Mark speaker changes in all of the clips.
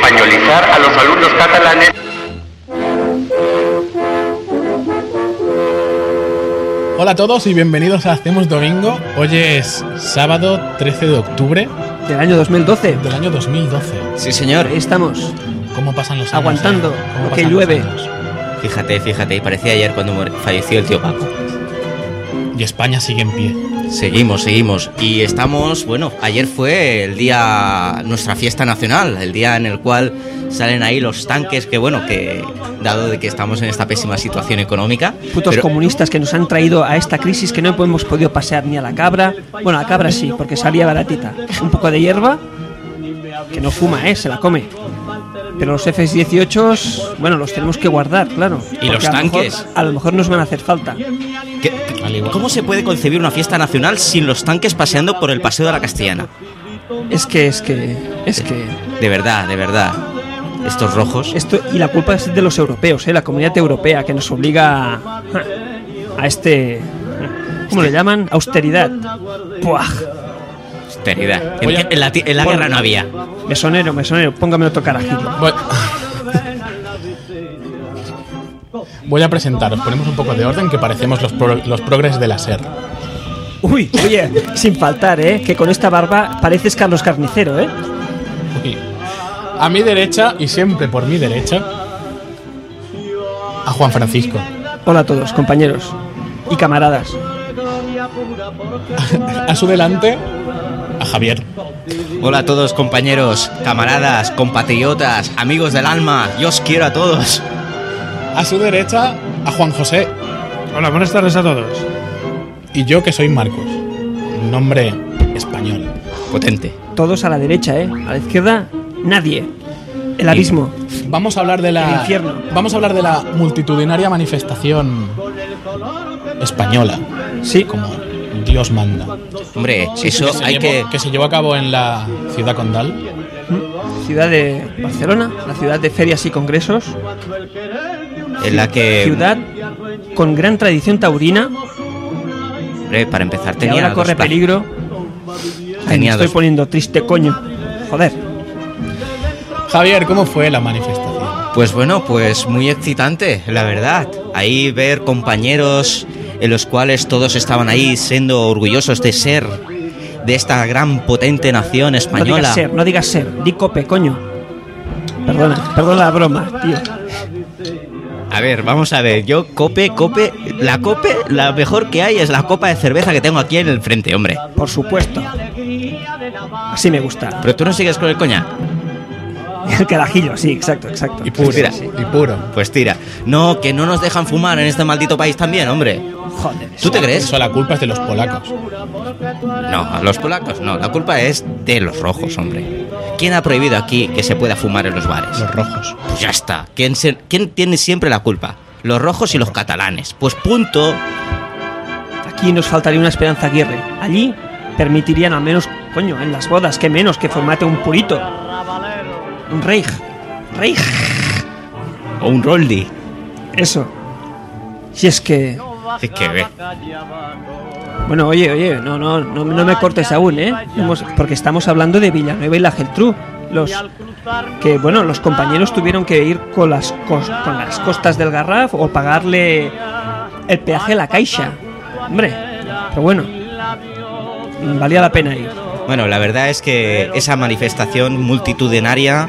Speaker 1: visualizar a los alumnos catalanes.
Speaker 2: Hola a todos y bienvenidos a Hacemos Domingo. Hoy es sábado 13 de octubre
Speaker 3: Del año 2012.
Speaker 2: del año 2012.
Speaker 4: Sí, señor.
Speaker 3: Ahí estamos.
Speaker 2: ¿Cómo pasan los años?
Speaker 3: Aguantando,
Speaker 2: eh? ¿Cómo pasan
Speaker 3: que
Speaker 2: los
Speaker 3: llueve.
Speaker 2: años?
Speaker 4: Fíjate, fíjate. Y parecía ayer cuando mor- falleció el tío Paco.
Speaker 2: Y España sigue en pie.
Speaker 4: Seguimos, seguimos. Y estamos, bueno, ayer fue el día, nuestra fiesta nacional, el día en el cual salen ahí los tanques, que bueno, que dado de que estamos en esta pésima situación económica.
Speaker 3: Putos
Speaker 4: pero-
Speaker 3: comunistas que nos han traído a esta crisis que no hemos podido pasear ni a la cabra. Bueno, a la cabra sí, porque salía baratita. Un poco de hierba, que no fuma, ¿eh? Se la come. Pero los F-18, bueno, los tenemos que guardar, claro.
Speaker 4: ¿Y los
Speaker 3: porque a lo mejor-
Speaker 4: tanques?
Speaker 3: a lo mejor nos van a hacer falta.
Speaker 4: ¿qué- ¿Cómo se puede concebir una fiesta nacional sin los tanques paseando por el Paseo de la Castellana?
Speaker 3: Es que, es que, es que...
Speaker 4: De verdad, de verdad. Estos rojos.
Speaker 3: Esto, y la culpa es de los europeos, ¿eh? la comunidad europea que nos obliga a, a este. ¿Cómo le llaman? Austeridad. Puah.
Speaker 4: Austeridad. En,
Speaker 2: Voy a-
Speaker 4: en la, ti- en la guerra no había.
Speaker 3: Mesonero, mesonero, póngame otro carajillo.
Speaker 2: Voy... Voy a presentaros, ponemos un poco de orden que parecemos los, pro- los progres de la SER.
Speaker 3: Uy, oye, sin faltar, ¿eh? Que con esta barba pareces Carlos Carnicero, ¿eh?
Speaker 2: Uy. A mi derecha, y siempre por mi derecha, a Juan Francisco.
Speaker 3: Hola a todos, compañeros y camaradas.
Speaker 2: A su delante, a Javier.
Speaker 4: Hola a todos compañeros, camaradas, compatriotas, amigos del alma, yo os quiero a todos.
Speaker 2: A su derecha, a Juan José.
Speaker 5: Hola, buenas tardes a todos.
Speaker 2: Y yo que soy Marcos. Un nombre español.
Speaker 4: Potente.
Speaker 3: Todos a la derecha, ¿eh? A la izquierda, nadie. El abismo.
Speaker 2: Vamos a hablar de la.
Speaker 3: El infierno.
Speaker 2: Vamos a hablar de la multitudinaria manifestación española,
Speaker 3: Sí,
Speaker 2: como Dios manda.
Speaker 4: Hombre, eso
Speaker 2: se
Speaker 4: hay que...
Speaker 2: llevó- se llevó a cabo en la ciudad condal.
Speaker 3: ciudad de Barcelona, la ciudad de ferias y congresos.
Speaker 4: En la que...
Speaker 3: ciudad con gran tradición taurina
Speaker 4: Hombre, para empezar
Speaker 3: que
Speaker 4: tenía...
Speaker 3: ahora
Speaker 4: dos
Speaker 3: corre
Speaker 4: plazas.
Speaker 3: peligro. Ay, me
Speaker 4: Tenía
Speaker 3: estoy
Speaker 4: dos-
Speaker 3: poniendo triste, coño. Joder.
Speaker 2: Javier, ¿cómo fue la manifestación?
Speaker 4: Pues bueno, pues muy excitante, la verdad. Ahí ver compañeros en los cuales todos estaban ahí siendo orgullosos de ser de esta gran potente nación
Speaker 3: No digas
Speaker 4: española.
Speaker 3: ser, no digas ser. Di cope, coño. Perdona, perdona la broma, tío.
Speaker 4: A ver, vamos a ver, yo cope, cope, la cope, la mejor que hay es la copa de cerveza que tengo aquí en el frente, hombre.
Speaker 3: Por supuesto. Así me gusta.
Speaker 4: Pero tú no sigues con el coñac.
Speaker 3: El carajillo, sí, exacto, exacto.
Speaker 2: Y puro.
Speaker 4: Mira.
Speaker 2: Y puro.
Speaker 4: Pues tira. No, que no nos dejan fumar en este maldito país también, hombre.
Speaker 3: Joder.
Speaker 4: ¿Tú te crees?
Speaker 2: Eso la culpa es de los polacos.
Speaker 4: No, a los polacos no. La culpa es de los rojos, hombre. ¿Quién ha prohibido aquí que se pueda fumar en los bares?
Speaker 2: Los rojos.
Speaker 4: Pues ya está. ¿Quién, se- quién tiene siempre la culpa? Los rojos y los catalanes. Pues punto.
Speaker 3: Aquí nos faltaría una esperanza Aguirre. Allí permitirían al menos, coño, en las bodas, que menos que formate un purito. Un reich. Reich.
Speaker 4: O un roldi.
Speaker 3: Eso. Si es que.
Speaker 4: Es que ve.
Speaker 3: Bueno, oye, oye, no, no, no, no me cortes aún, ¿eh? Hemos- porque estamos hablando de Villanueva y la Geltrú. Los que, bueno, los compañeros tuvieron que ir con las, cos- con las costas del Garraf o pagarle el peaje a la Caixa. Hombre, pero bueno, valía la pena ir.
Speaker 4: Bueno, la verdad es que esa manifestación multitudinaria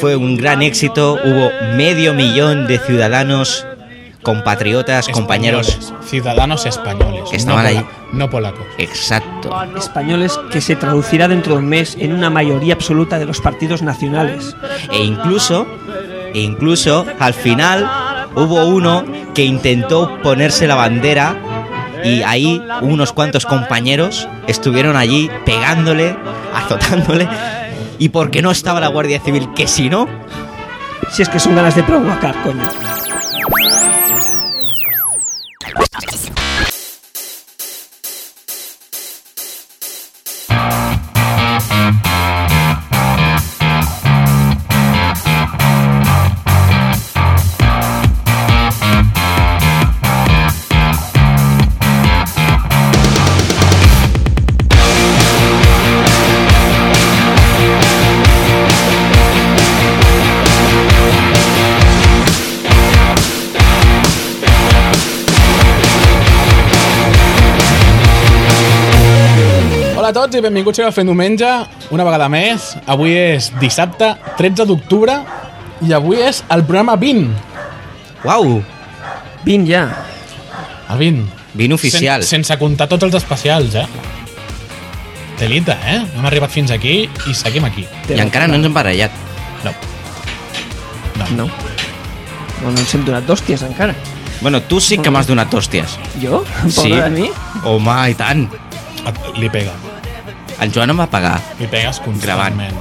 Speaker 4: fue un gran éxito. Hubo medio millón de ciudadanos, compatriotas, compañeros.
Speaker 2: Españoles, ciudadanos españoles.
Speaker 4: Que estaban
Speaker 2: no
Speaker 4: ahí.
Speaker 2: pola- No polacos.
Speaker 4: Exacto.
Speaker 3: Españoles que se traducirá dentro de un mes en una mayoría absoluta de los partidos nacionales.
Speaker 4: E incluso, e incluso, al final hubo uno que intentó ponerse la bandera y ahí unos cuantos compañeros estuvieron allí pegándole, azotándole. Y porque no estaba la Guardia Civil, que si no,
Speaker 3: Si es que son ganas de provocar, coño.
Speaker 2: Hola a tots i benvinguts a fent diumenge, una vegada més. Avui és dissabte, 13 d'octubre, i avui és el programa 20.
Speaker 4: ¡Wow!
Speaker 3: Vin ja.
Speaker 2: El 20.
Speaker 4: Vin oficial.
Speaker 2: Sen, sense comptar tots els especials, eh? Telita, eh? Hem arribat fins aquí i seguim aquí.
Speaker 4: I encara no ens hem barallat.
Speaker 2: No. No.
Speaker 3: No. No, no ens hem donat d'hòsties encara.
Speaker 4: Bueno, tu sí que m'has donat hòsties.
Speaker 3: Jo? Em pot
Speaker 4: Sí.
Speaker 3: donar a mi?
Speaker 4: Home, i tant.
Speaker 2: Et- Li pega.
Speaker 4: El Joan em va pagar.
Speaker 2: Li pegues constantment.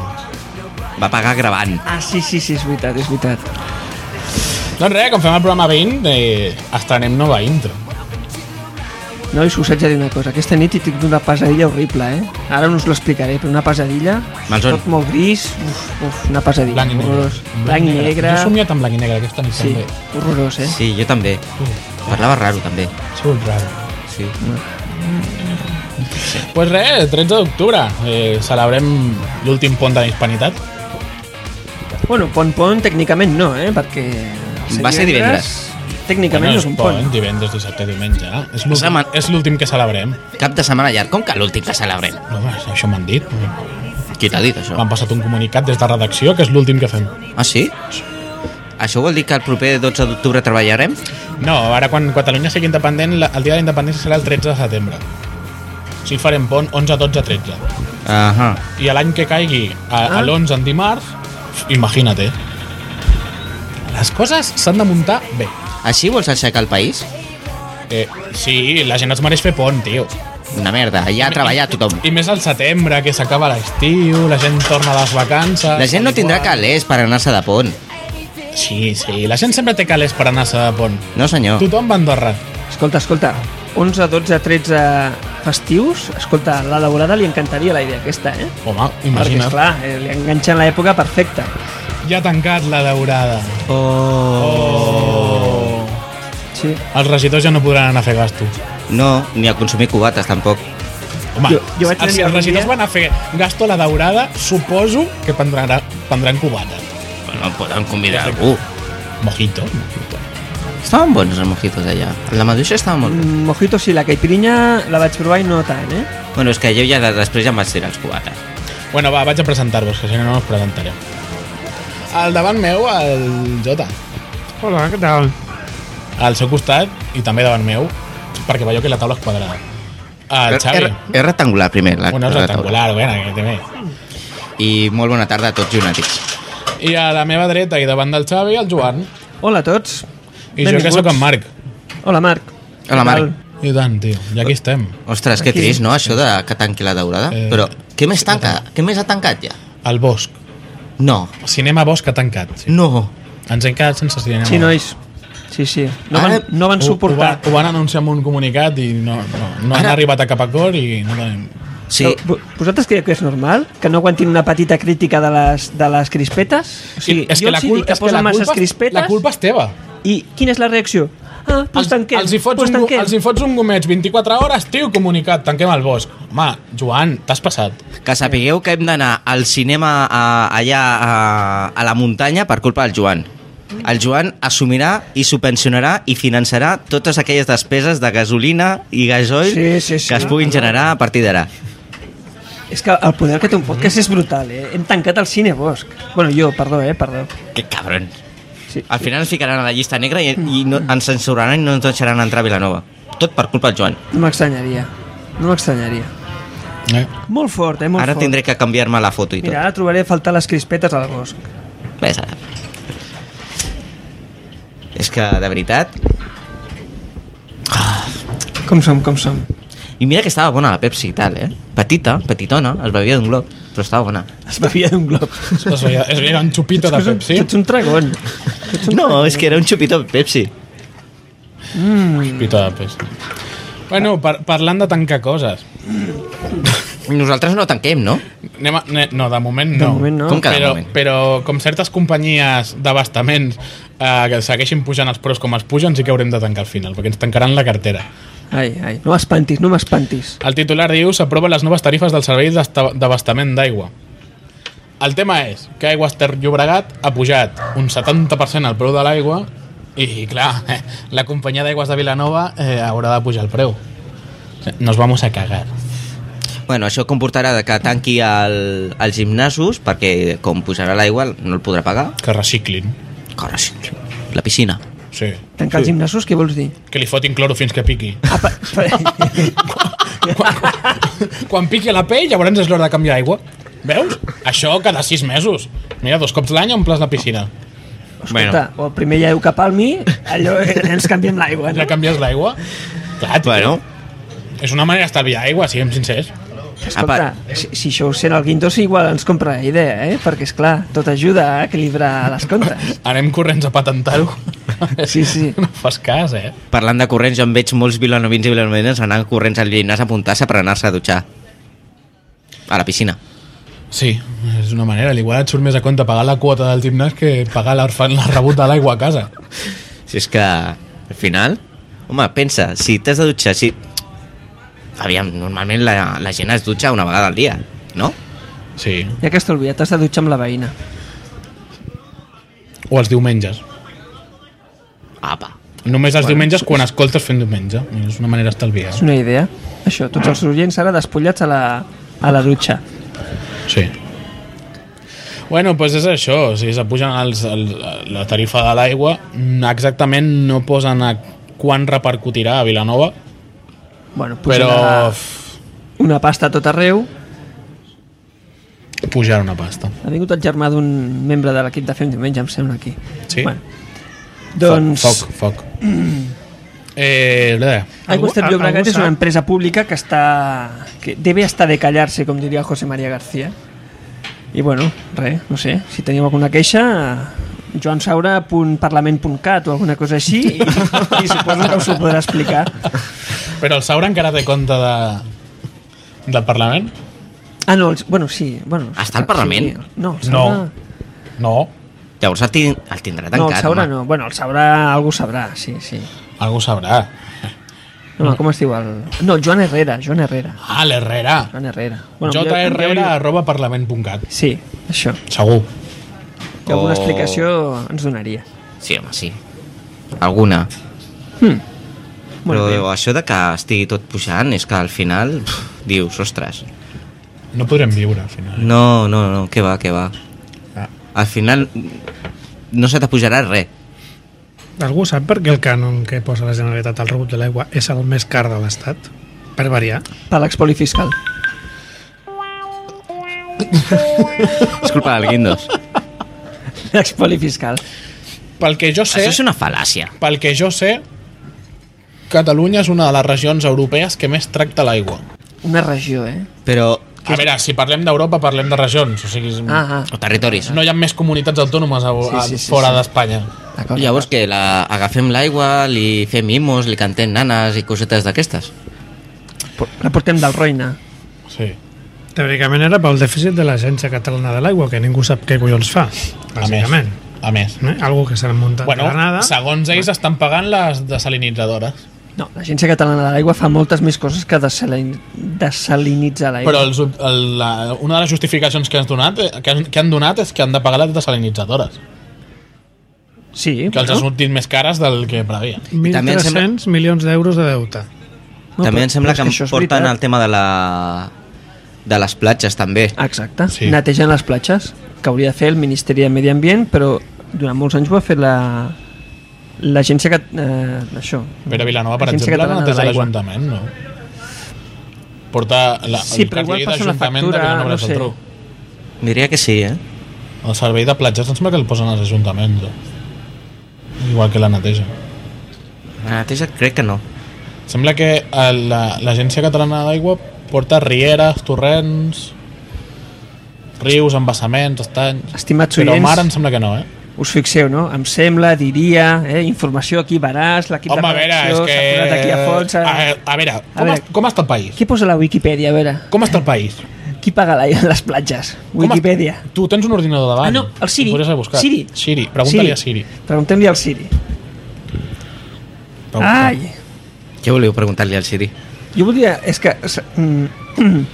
Speaker 4: Va pagar gravant.
Speaker 3: Ah, sí, sí, sí, és veritat, és veritat.
Speaker 2: Doncs res, com fem el programa 20, eh, estrenem nova intro.
Speaker 3: Nois, us haig de dir una cosa. Aquesta nit hi tinc una pesadilla horrible, eh? Ara no us ho explicaré, però una pesadilla...
Speaker 4: Manson.
Speaker 3: Tot molt gris, uf, uf, una pesadilla.
Speaker 2: Blanc i negre.
Speaker 3: horrorós. Blanc i negre.
Speaker 2: Jo he somiat amb blanc i negre aquesta nit
Speaker 3: Sí,
Speaker 2: també.
Speaker 3: horrorós, eh?
Speaker 4: Sí, jo també. Parlava raro, també.
Speaker 2: Ha sigut raro.
Speaker 4: Sí.
Speaker 2: Pues res, 13 d'octubre. Eh, celebrem l'últim pont de la hispanitat.
Speaker 3: Bueno, pon pon tècnicament no, eh? Perquè... el
Speaker 4: Va ser
Speaker 3: Tècnicament no és un pont.
Speaker 2: divendres, dissabte, diumenge. eh? És l'últim-
Speaker 4: Setmana-
Speaker 2: És l'últim que celebrem.
Speaker 4: Cap de setmana llarg. Com que l'últim que celebrem?
Speaker 2: No, home, això m'han dit.
Speaker 4: Qui t'ha dit això?
Speaker 2: M'han passat un comunicat des de redacció que és l'últim que fem.
Speaker 4: Ah, sí? Això vol dir que el proper 12 d'octubre treballarem?
Speaker 2: No, ara quan Catalunya sigui independent, la- el dia de la independència serà el 13 de setembre. O sigui, farem pont 11, 12, 13.
Speaker 4: Ahà.
Speaker 2: I l'any que caigui a, a l'11 en dimarts, imagina't. eh? Les coses s'han de muntar bé.
Speaker 4: Així vols aixecar el país?
Speaker 2: Eh, sí, la gent es mereix fer pont, tio.
Speaker 4: Una merda, allà a treballar tothom.
Speaker 2: I més al setembre, que s'acaba l'estiu, la gent torna a les vacances...
Speaker 4: La gent no tindrà calés per anar-se de pont.
Speaker 2: Sí, sí, la gent sempre té calés per anar-se de pont.
Speaker 4: No, senyor.
Speaker 2: Tothom va a Andorra.
Speaker 3: Escolta, escolta, 11, 12, 13 festius, escolta, a la daurada li encantaria la idea aquesta, eh?
Speaker 2: Home,
Speaker 3: Perquè,
Speaker 2: imagina't.
Speaker 3: esclar, eh, li enganxen l'època perfecta.
Speaker 2: Ja ha tancat la daurada. Oh.
Speaker 3: Sí.
Speaker 2: Els regidors ja no podran anar a fer gasto.
Speaker 4: No, ni a consumir cubates, tampoc.
Speaker 2: Home,
Speaker 3: Jo- jo vaig
Speaker 2: els,
Speaker 3: tenir
Speaker 2: els
Speaker 3: algun
Speaker 2: regidors
Speaker 3: dia-
Speaker 2: van a fer gasto a la daurada, suposo que prendran, prendran cubata.
Speaker 4: Bueno, podran convidar algú.
Speaker 2: Mojito.
Speaker 4: Estaven bons els mojitos allà. La maduixa estava molt bé.
Speaker 3: Mm, Mojito sí, la caipirinha la vaig provar i no tant, eh?
Speaker 4: Bueno, és que jo ja de, després ja em vaig tirar els cubates.
Speaker 2: Bueno, va, vaig a presentar-vos, que si no, no us presentaré. Al davant meu, el Jota.
Speaker 5: Hola, què tal?
Speaker 2: al seu costat i també davant meu, perquè veieu que la taula és quadrada. El Xavi,
Speaker 4: És- És rectangular, primer. La,
Speaker 2: bueno, és
Speaker 4: la taula.
Speaker 2: rectangular, bueno, que té bé.
Speaker 4: I molt bona tarda a tots llunàtics.
Speaker 2: I a la meva dreta i davant del Xavi, el Joan.
Speaker 3: Hola a tots.
Speaker 2: I jo que sóc en Marc.
Speaker 3: Hola, Marc.
Speaker 4: Hola,
Speaker 3: Què tal?
Speaker 4: Marc.
Speaker 2: I tant, tio, i aquí estem.
Speaker 4: Ostres, que
Speaker 3: Aquí.
Speaker 4: trist, no?, això de que tanqui la daurada.
Speaker 2: Eh,
Speaker 4: Però què més tanca? Què més ha tancat ja?
Speaker 2: El Bosc.
Speaker 4: No,
Speaker 2: Cinema Bosc ha tancat. Sí.
Speaker 4: no.
Speaker 2: Ens hem quedat sense cinema.
Speaker 3: Sí, nois. Sí, sí. No van,
Speaker 4: Ara-
Speaker 3: no van
Speaker 2: Ho-
Speaker 3: suportar.
Speaker 2: Ho, van, ho van anunciar amb un comunicat i no, no, no han
Speaker 4: Ara-
Speaker 2: arribat a cap acord i no tenim...
Speaker 4: Sí,
Speaker 3: Però vo- vosaltres creieu que és normal que no aguantin una petita crítica de les, de les crispetes? O sigui, jo els hi dic que posen masses crispetes
Speaker 2: la culpa és teva.
Speaker 3: i quina és la reacció? Ah, doncs tanquem.
Speaker 2: els, hi fots
Speaker 3: doncs
Speaker 2: un, gu-
Speaker 3: tanquem.
Speaker 2: els hi fots un gomet 24 hores, tio, comunicat, tanquem el bosc. Home, Joan, t'has passat.
Speaker 4: que sapigueu que hem d'anar al cinema a, allà a, a la muntanya per culpa del Joan. El Joan assumirà i subvencionarà i finançarà totes aquelles despeses de gasolina i gasoil
Speaker 3: Sí, sí, sí.
Speaker 4: que es puguin generar a partir d'ara.
Speaker 3: És que el poder que té
Speaker 2: Mm.
Speaker 3: un podcast és brutal, eh? Hem tancat el cine Bosch. Bueno, jo, perdó, eh? Perdó.
Speaker 4: Que cabron.
Speaker 3: Sí.
Speaker 4: Al final ens ficaran a la llista negra i, i no, ens censuraran i no ens deixaran entrar a Vilanova. Tot per culpa del Joan.
Speaker 3: No m'extanyaria. No m'extanyaria.
Speaker 2: Eh?
Speaker 3: Molt fort, eh? Molt
Speaker 4: Ara
Speaker 3: fort.
Speaker 4: tindré que canviar-me la foto i tot.
Speaker 3: Mira, ara trobaré a faltar les crispetes al Bosch.
Speaker 4: Vés a... És que, de veritat...
Speaker 3: Com som, com som.
Speaker 4: I mira que estava bona la Pepsi i tal, eh? Petita, petitona, es bevia d'un glob, però estava bona.
Speaker 3: Es bevia d'un glob.
Speaker 2: Es veia, es veia un xupito de
Speaker 3: Tu ets un-
Speaker 2: Pepsi.
Speaker 3: tu ets un dragón.
Speaker 4: No, és que era un xupito de Pepsi.
Speaker 2: Xupito de Pepsi. Bueno, par parlant de tancar coses.
Speaker 4: Nosaltres no tanquem, no?
Speaker 2: Anem a, ne, no, de moment no.
Speaker 3: De moment no.
Speaker 4: Com que de
Speaker 2: Però,
Speaker 4: moment?
Speaker 2: però com certes companyies d'abastaments eh, que segueixin pujant els pros com els pugen, sí que haurem de tancar al final, perquè ens tancaran la cartera.
Speaker 3: Ai, ai, no m'espantis, no m'espantis.
Speaker 2: El titular diu s'aproven les noves tarifes del servei d'esta- d'abastament d'aigua. El tema és que Aigües Ter Llobregat ha pujat un 70% el preu de l'aigua i, clar, eh, la companyia d'aigües de Vilanova eh, haurà de pujar el preu. Nos vamos a cagar.
Speaker 4: Bueno, això comportarà que tanqui el, els gimnasos perquè com posarà l'aigua no el podrà pagar.
Speaker 2: Que reciclin.
Speaker 4: Corre, sí. La piscina.
Speaker 2: Sí.
Speaker 3: Tancar els gimnasos, què vols dir?
Speaker 2: Que li fotin cloro fins que piqui.
Speaker 3: Ah, pa- pa-
Speaker 2: quan, quan, quan piqui a la pell, llavors és l'hora de canviar aigua. Veus? Això cada sis mesos. Mira, dos cops l'any omples la piscina.
Speaker 3: Escolta, o primer ja heu cap al mi, allò eh, ens canviem l'aigua,
Speaker 2: Ja
Speaker 3: no?
Speaker 2: canvies l'aigua. Clar, tio,
Speaker 4: Bueno,
Speaker 2: és una manera d'estalviar aigua, siguem sincers.
Speaker 3: Escolta, si, si això ho sent el Guindos, igual ens compra la idea, eh? Perquè, és clar, tot ajuda a equilibrar les comptes.
Speaker 2: Anem corrents a patentar-ho.
Speaker 3: Sí, sí.
Speaker 2: No fas cas, eh?
Speaker 4: parlant de corrents, jo em veig molts vilanovins i vilanovines anant corrents al gimnàs a apuntar-se per anar-se a dutxar. A la piscina.
Speaker 2: Sí, és una manera. Al Igual et surt més a compte pagar la quota del gimnàs que pagar l'orfan la rebut de l'aigua a casa.
Speaker 4: Si és que, al final... Home, pensa, si t'has de dutxar, si... Aviam, normalment la, la gent es dutxa una vegada al dia, no?
Speaker 2: Sí.
Speaker 3: Ja que has t'oblidat, t'has de dutxar amb la veïna.
Speaker 2: O els diumenges.
Speaker 4: Apa.
Speaker 2: Només els diumenges quan escoltes fent diumenge. És una manera d'estalviar.
Speaker 3: És una idea. Això, tots els urgents ara despullats a la, a la dutxa.
Speaker 2: Sí. Bueno, doncs pues és això, o sigui, se pugen els, el, la tarifa de l'aigua, mm, exactament no posen a quan repercutirà a Vilanova,
Speaker 3: Bueno,
Speaker 2: però
Speaker 3: pujarà
Speaker 2: f-
Speaker 3: una pasta a tot arreu.
Speaker 2: pujarà una pasta.
Speaker 3: Ha vingut el germà d'un membre de l'equip de Fem Diumenge, em sembla, aquí.
Speaker 2: Sí.
Speaker 3: Bueno, doncs...
Speaker 2: Foc, foc. foc. Eh, res.
Speaker 3: Aigües ter
Speaker 5: Algú-
Speaker 3: Llobregat
Speaker 5: algú
Speaker 3: és una
Speaker 5: sap?
Speaker 3: empresa pública que està... que debe hasta de callarse, com diria José María García. I bueno, res, no sé, si teniu alguna queixa, joansaura.parlament.cat o alguna cosa així i, i suposo que us ho podrà explicar.
Speaker 2: però el Saura encara té compte de, del Parlament?
Speaker 3: Ah, no, els, bueno, sí. Bueno,
Speaker 4: Està al Parlament?
Speaker 3: Sí, no, el
Speaker 2: No.
Speaker 3: Saura,
Speaker 2: No,
Speaker 4: Llavors el, tin- el tindrà
Speaker 3: no, el
Speaker 4: tancat,
Speaker 3: Saura
Speaker 4: home.
Speaker 3: no. Bueno, el Saura algú sabrà, sí, sí.
Speaker 2: algú sabrà.
Speaker 3: No, no, com es diu el... No, Joan Herrera, Joan Herrera.
Speaker 2: Ah, l'Herrera.
Speaker 3: Joan Herrera.
Speaker 2: jrr
Speaker 3: envieu-li-
Speaker 2: arroba parlament.cat.
Speaker 3: Sí, això.
Speaker 2: Segur.
Speaker 3: Que alguna
Speaker 4: O-
Speaker 3: explicació ens donaria.
Speaker 4: Sí, home, sí. Alguna.
Speaker 3: Molt
Speaker 4: Però
Speaker 3: bé.
Speaker 4: això de que estigui tot pujant és que al final pff, dius, ostres,
Speaker 2: No podrem viure, al final.
Speaker 4: no, no, no, que va, que va.
Speaker 2: Ah.
Speaker 4: Al final no se t'apujarà res.
Speaker 5: Algú sap per què el cànon que posa la Generalitat al rebut de l'aigua és el més car de l'Estat? Per variar.
Speaker 3: Per l'expoli fiscal.
Speaker 4: És culpa del Guindos.
Speaker 3: L'expoli fiscal.
Speaker 2: Pel que jo sé...
Speaker 4: Això és una fal·làcia.
Speaker 2: Pel que jo sé, Catalunya és una de les regions europees que més tracta l'aigua.
Speaker 3: Una regió, eh?
Speaker 4: Però...
Speaker 2: A veure, si parlem d'Europa, parlem de regions. O sigui,
Speaker 3: Ah, ah.
Speaker 4: O territoris.
Speaker 2: no hi ha més comunitats autònomes a, a,
Speaker 3: Sí, sí, sí,
Speaker 2: fora
Speaker 3: sí.
Speaker 2: d'Espanya.
Speaker 3: D'acord.
Speaker 4: Llavors que la, agafem l'aigua, li fem imos, li cantem nanes i cosetes d'aquestes.
Speaker 3: La portem del Roina.
Speaker 2: Sí.
Speaker 5: Teòricament era pel dèficit de l'Agència Catalana de l'Aigua, que ningú sap què collons fa,
Speaker 2: A més.
Speaker 5: bàsicament.
Speaker 2: A més.
Speaker 5: Eh? Algú que se l'ha muntat
Speaker 2: Bueno,
Speaker 5: de la nada.
Speaker 2: segons ells estan pagant les desalinitzadores.
Speaker 3: No, l'Agència Catalana de l'Aigua fa moltes més coses que desalin... desalinitzar l'aigua.
Speaker 2: Però els, el, la, una de les justificacions que, has donat, eh, que, han, que han donat és que han de pagar les desalinitzadores,
Speaker 3: Sí,
Speaker 2: que els ha
Speaker 3: bueno,
Speaker 2: sortit més cares del que previa.
Speaker 4: I també em
Speaker 5: 1.300
Speaker 4: sembla-
Speaker 5: milions d'euros de deute.
Speaker 3: no,
Speaker 4: també
Speaker 3: però-
Speaker 4: em sembla
Speaker 3: però
Speaker 4: que,
Speaker 3: és
Speaker 4: que
Speaker 3: això és
Speaker 4: porten el
Speaker 3: veritat.
Speaker 4: tema de la de les platges també.
Speaker 3: Exacte,
Speaker 2: Sí.
Speaker 3: sí. netejant les platges, que hauria de fer el Ministeri de Medi Ambient, però durant molts anys ho ha fet la... L'agència que... Eh, això.
Speaker 2: Vera Vilanova, per
Speaker 3: Agència
Speaker 2: exemple,
Speaker 3: Catalana
Speaker 2: no té
Speaker 3: de l'aigua.
Speaker 2: l'Ajuntament, no? Porta la,
Speaker 3: Sí, però igual passa una
Speaker 2: d'Ajuntament
Speaker 3: factura,
Speaker 2: de Vilanova i
Speaker 3: no
Speaker 2: la Geltrú.
Speaker 4: Diria que sí, eh?
Speaker 2: El servei de platges em sembla que el posen als ajuntaments. eh? Igual que la neteja.
Speaker 4: La neteja crec que no.
Speaker 2: Sembla que a la- l'Agència Catalana d'Aigua porta rieres, torrents, rius, embassaments, estanys...
Speaker 3: Estimats
Speaker 2: Però
Speaker 3: oients,
Speaker 2: mar em sembla que no, eh?
Speaker 3: Us fixeu, no? Em sembla, diria, eh? informació aquí veràs, l'equip de
Speaker 2: Home, a veure, és
Speaker 3: redacció
Speaker 2: que...
Speaker 3: s'ha posat aquí a fons.
Speaker 2: A,
Speaker 3: A...
Speaker 2: a veure,
Speaker 3: A
Speaker 2: com,
Speaker 3: veure.
Speaker 2: est- com està el país?
Speaker 3: Qui posa la Wikipedia, a veure?
Speaker 2: Com està el país?
Speaker 3: Qui paga la, les platges?
Speaker 2: Com es-
Speaker 3: Wikipedia.
Speaker 2: Tu tens un ordinador davant.
Speaker 3: Ah, no, el Siri.
Speaker 2: Ho podries haver buscat.
Speaker 3: Siri.
Speaker 2: Siri, pregunta-li a Siri.
Speaker 3: Preguntem-li al Siri.
Speaker 2: Pregunta.
Speaker 3: Ai,
Speaker 4: Què voleu preguntar-li al Siri?
Speaker 3: jo volia... És que... se- mm, mm.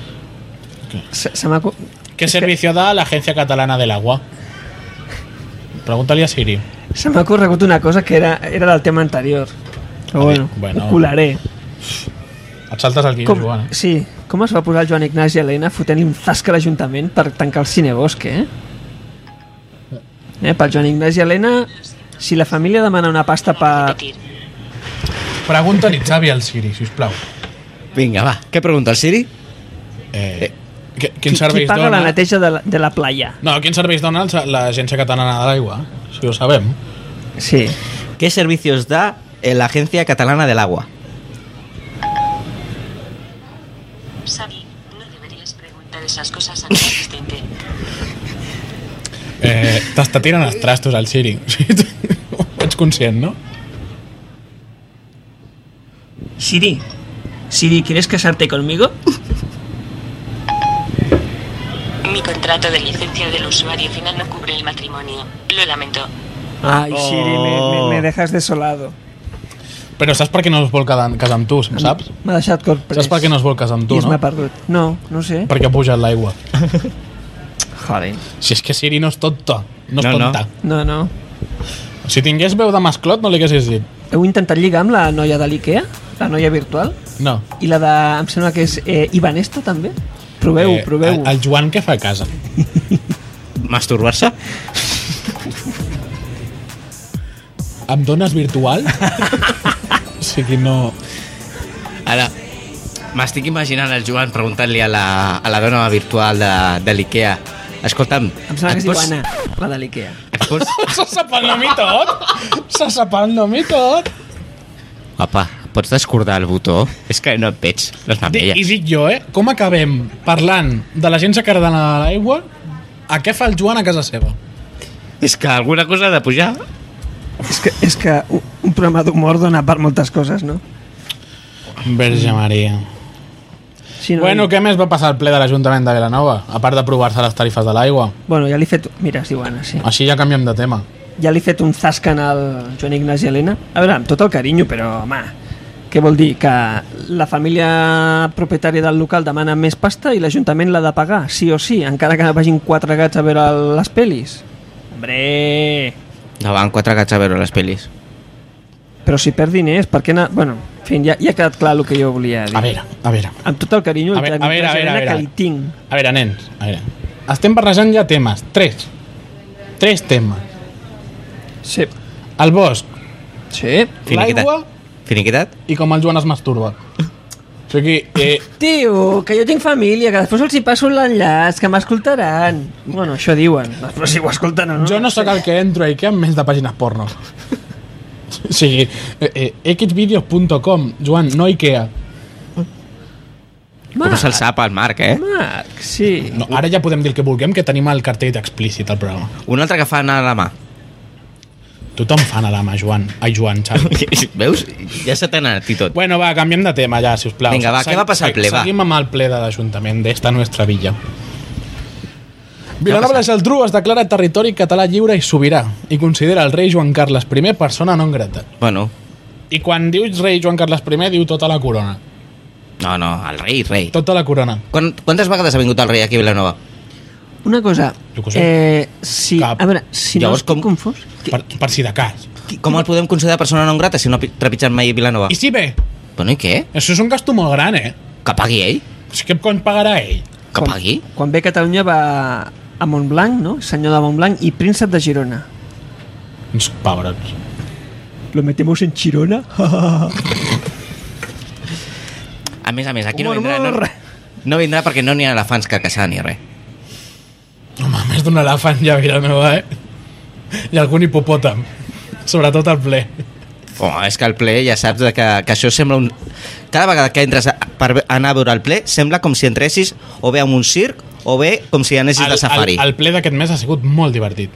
Speaker 3: Se, se m'ha... co-
Speaker 2: ¿Qué
Speaker 3: es que
Speaker 2: servicio da la Agencia Catalana del Agua? Pregúntale a Siri.
Speaker 3: Se m'ha corregut una cosa que era, era del tema anterior. Però
Speaker 2: A ver,
Speaker 3: Ah, bueno,
Speaker 2: bueno.
Speaker 3: bueno, ho colaré.
Speaker 2: Et saltes el guió,
Speaker 3: Com,
Speaker 2: Joan. eh?
Speaker 3: sí, com es va posar el Joan Ignasi i Helena fotent-li un zasc a l'Ajuntament per tancar el cinebosc, eh? eh? Pel Joan Ignasi i Helena, si la família demana una pasta per...
Speaker 2: Pregunta-li, Xavi, al Siri, sisplau.
Speaker 4: Vinga, va. Què pregunta el Siri?
Speaker 2: Eh, qui,
Speaker 3: Qui,
Speaker 2: quins
Speaker 3: qui
Speaker 2: serveis
Speaker 3: paga la
Speaker 2: dona...
Speaker 3: neteja de la, de la playa?
Speaker 2: No, quins serveis dona els- l'Agència Catalana de l'Aigua? Si ho sabem.
Speaker 3: Sí.
Speaker 4: ¿Qué servicios da eh, la Agencia Catalana del Agua?
Speaker 6: Xavi, no deberías preguntar esas cosas a mi asistente.
Speaker 2: Eh, T'està tirant els trastos al Siri. Ets conscient, no?
Speaker 3: Siri, Siri, ¿quieres casarte conmigo?
Speaker 6: Mi contrato de licencia del usuario final no cubre el matrimonio. Lo lamento.
Speaker 3: Ay,
Speaker 4: Oh.
Speaker 3: Siri, me, me- me dejas desolado.
Speaker 2: Però saps per què no es vol quedar, casar amb tu, saps?
Speaker 3: M'ha deixat corprès.
Speaker 2: Saps per què no es vol casar amb
Speaker 3: I
Speaker 2: tu,
Speaker 3: es m'ha
Speaker 2: no?
Speaker 3: perdut. No, no ho sé.
Speaker 2: Perquè ha pujat l'aigua.
Speaker 3: Joder.
Speaker 2: Si és que Siri no és tonta. No és
Speaker 4: No, no.
Speaker 2: tonta.
Speaker 3: No, no.
Speaker 2: Si tingués veu de masclot, no li haguessis dit.
Speaker 3: Heu intentat lligar amb la noia de l'IKEA? La noia virtual?
Speaker 2: No.
Speaker 3: I la de... Em sembla que és eh, Ivanesta, també? Proveu, eh, proveu.
Speaker 2: El, el Joan què fa a casa?
Speaker 4: ¿Masturbarse?
Speaker 2: Em dones virtual? o sigui, no...
Speaker 4: Ara, m'estic imaginant el Joan preguntant-li a, la, a la dona virtual de, de l'IKEA Escolta'm,
Speaker 3: Em sembla que
Speaker 4: et
Speaker 3: és
Speaker 4: pots,
Speaker 3: Ivana, la de l'IKEA.
Speaker 4: et pots...
Speaker 2: S'ha sapat el mi tot! S'ha sapat el mi tot!
Speaker 4: Apa, pots descordar el botó? És que no et veig, no és la
Speaker 2: Dic,
Speaker 4: meva.
Speaker 2: I dic jo, eh? Com acabem parlant de l'Agència Cardana de l'Aigua a què fa el Joan a casa seva?
Speaker 4: És que alguna cosa ha de pujar.
Speaker 3: És que, és que un, un programa d'humor dona per moltes coses, no?
Speaker 2: Verge Maria.
Speaker 3: Si no
Speaker 2: Bueno, què més va passar al ple de l'Ajuntament de Vilanova? A part d'aprovar-se les tarifes de l'aigua.
Speaker 3: bueno, ja li he fet... Mira, és Ivana, sí.
Speaker 2: Així ja canviem de tema.
Speaker 3: Ja li he fet un zascan al Joan Ignasi Helena. A veure, amb tot el carinyo, però, home, què vol dir? Que la família propietària del local demana més pasta i l'Ajuntament l'ha de pagar, sí o sí, encara que vagin quatre gats a veure les pel·lis? Hombre...
Speaker 4: No, van quatre gats a veure les pel·lis.
Speaker 3: Però si perd diners, per què... Na... Bueno, en fi, ja, ja ha quedat clar el que jo volia dir.
Speaker 2: A veure, a veure.
Speaker 3: Amb tot el carinyo,
Speaker 2: A
Speaker 3: el
Speaker 2: veure,
Speaker 3: Joan
Speaker 2: a veure, a veure,
Speaker 3: Ignasi
Speaker 2: a
Speaker 3: Helena, que
Speaker 2: veure.
Speaker 3: li tinc.
Speaker 2: A veure, nens, a veure. Estem barrejant ja temes. Tres. Tres temes.
Speaker 3: Sí.
Speaker 2: El bosc,
Speaker 3: Sí.
Speaker 4: Finiquitat.
Speaker 2: l'aigua
Speaker 4: Finiquitat?
Speaker 2: i com el Joan es masturba. O sigui, eh,
Speaker 3: Tio, que jo tinc família, que després els hi passo l'enllaç, que m'escoltaran. Bueno, això diuen. Però si ho escolten o
Speaker 4: Ah,
Speaker 3: no.
Speaker 2: jo no sóc el que entro a Ikea amb més de pàgines porno. O sigui, eh, eh, xvideos.com, Joan, no Ikea.
Speaker 4: Com se'l
Speaker 3: Marc,
Speaker 4: sap al Marc, eh?
Speaker 3: Marc, sí.
Speaker 2: No, ara ja podem dir el que vulguem, que tenim el cartell explícit al programa.
Speaker 4: Un altre que fa anar a la mà.
Speaker 2: Tothom fa anar a la mà, Joan. Ai, Joan, Xavi.
Speaker 4: Veus? Ja se t'ha anat i tot.
Speaker 2: Bueno, va, canviem de tema ja, sisplau.
Speaker 4: Vinga, va,
Speaker 2: Segui-
Speaker 4: què va passar al ple, va?
Speaker 2: Seguim amb el ple de l'Ajuntament d'esta nostra villa. Vilanova i la Geltrú es declara territori català lliure i sobirà i considera el rei Joan Carles I persona non grata.
Speaker 4: Bueno,
Speaker 2: I quan dius rei Joan Carles I diu tota la corona.
Speaker 4: no, no, el rei, rei.
Speaker 2: Tota la corona.
Speaker 4: Quan, quantes vegades ha vingut el rei aquí a Vilanova?
Speaker 3: Una cosa.
Speaker 2: Jo què sé.
Speaker 3: Eh, si,
Speaker 2: Cap.
Speaker 3: a veure, si
Speaker 4: Llavors,
Speaker 3: no estic
Speaker 4: com-
Speaker 3: confós...
Speaker 2: Per, per si de cas.
Speaker 4: Com el podem considerar persona non grata si no ha pi- trepitjat mai Vilanova?
Speaker 2: I si bé,
Speaker 4: Bueno, i què?
Speaker 2: això és un gasto molt gran, eh?
Speaker 4: Que pagui ell?
Speaker 2: És que cony pagarà ell?
Speaker 4: Que pagui?
Speaker 3: Quan, quan ve a Catalunya va a Montblanc, no? Senyor de Montblanc i príncep de Girona.
Speaker 2: Uns pebrots.
Speaker 3: Lo metemos en Girona?
Speaker 4: A més a més, aquí no
Speaker 3: Humor,
Speaker 4: vindrà, no,
Speaker 3: humor.
Speaker 4: no vindrà perquè no n'hi ha elefants que caçar ni res.
Speaker 2: Home, més d'un elefant ja a Vilanova, eh? I algun hipopòtam. Sobretot al ple.
Speaker 4: Oh, és que el ple ja saps de que, que això sembla un... Cada vegada que entres a, per ve- anar a veure el ple sembla com si entressis o bé a un circ o bé com si anessis de safari.
Speaker 2: El, el ple d'aquest mes ha sigut molt divertit.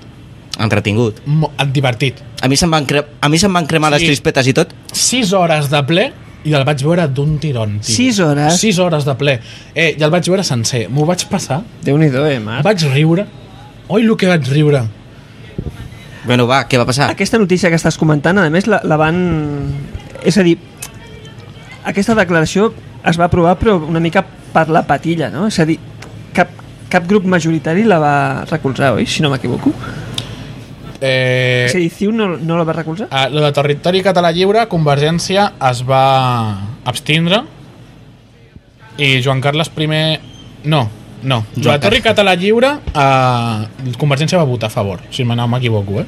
Speaker 4: Entretingut.
Speaker 2: Mo divertit.
Speaker 4: A mi se'm van, cre a mi se'm van cremar
Speaker 2: Sí.
Speaker 4: les crispetes i tot.
Speaker 2: 6 hores de ple i el vaig veure d'un tirón. tio.
Speaker 3: Sis hores?
Speaker 2: Sis hores de ple. Eh, i el vaig veure sencer. M'ho vaig passar,
Speaker 3: Déu-n'hi-do, eh, Marc?
Speaker 2: vaig riure. Oi, el que vaig riure.
Speaker 4: Bueno, va, què va passar?
Speaker 3: Aquesta notícia que estàs comentant, a més, la, la van... És a dir, aquesta declaració es va aprovar però una mica per la patilla, no? És a dir, cap, cap grup majoritari la va recolzar, oi? Si no m'equivoco.
Speaker 2: Eh,
Speaker 3: És a dir, CiU no, no la va recolzar?
Speaker 2: Ah, lo de territori català lliure, Convergència es va abstindre i Joan Carles I... No, no.
Speaker 4: Joan
Speaker 2: la Torre
Speaker 4: Carles.
Speaker 2: Català Lliure, eh, Convergència va votar a favor, si me- no m'equivoco, eh?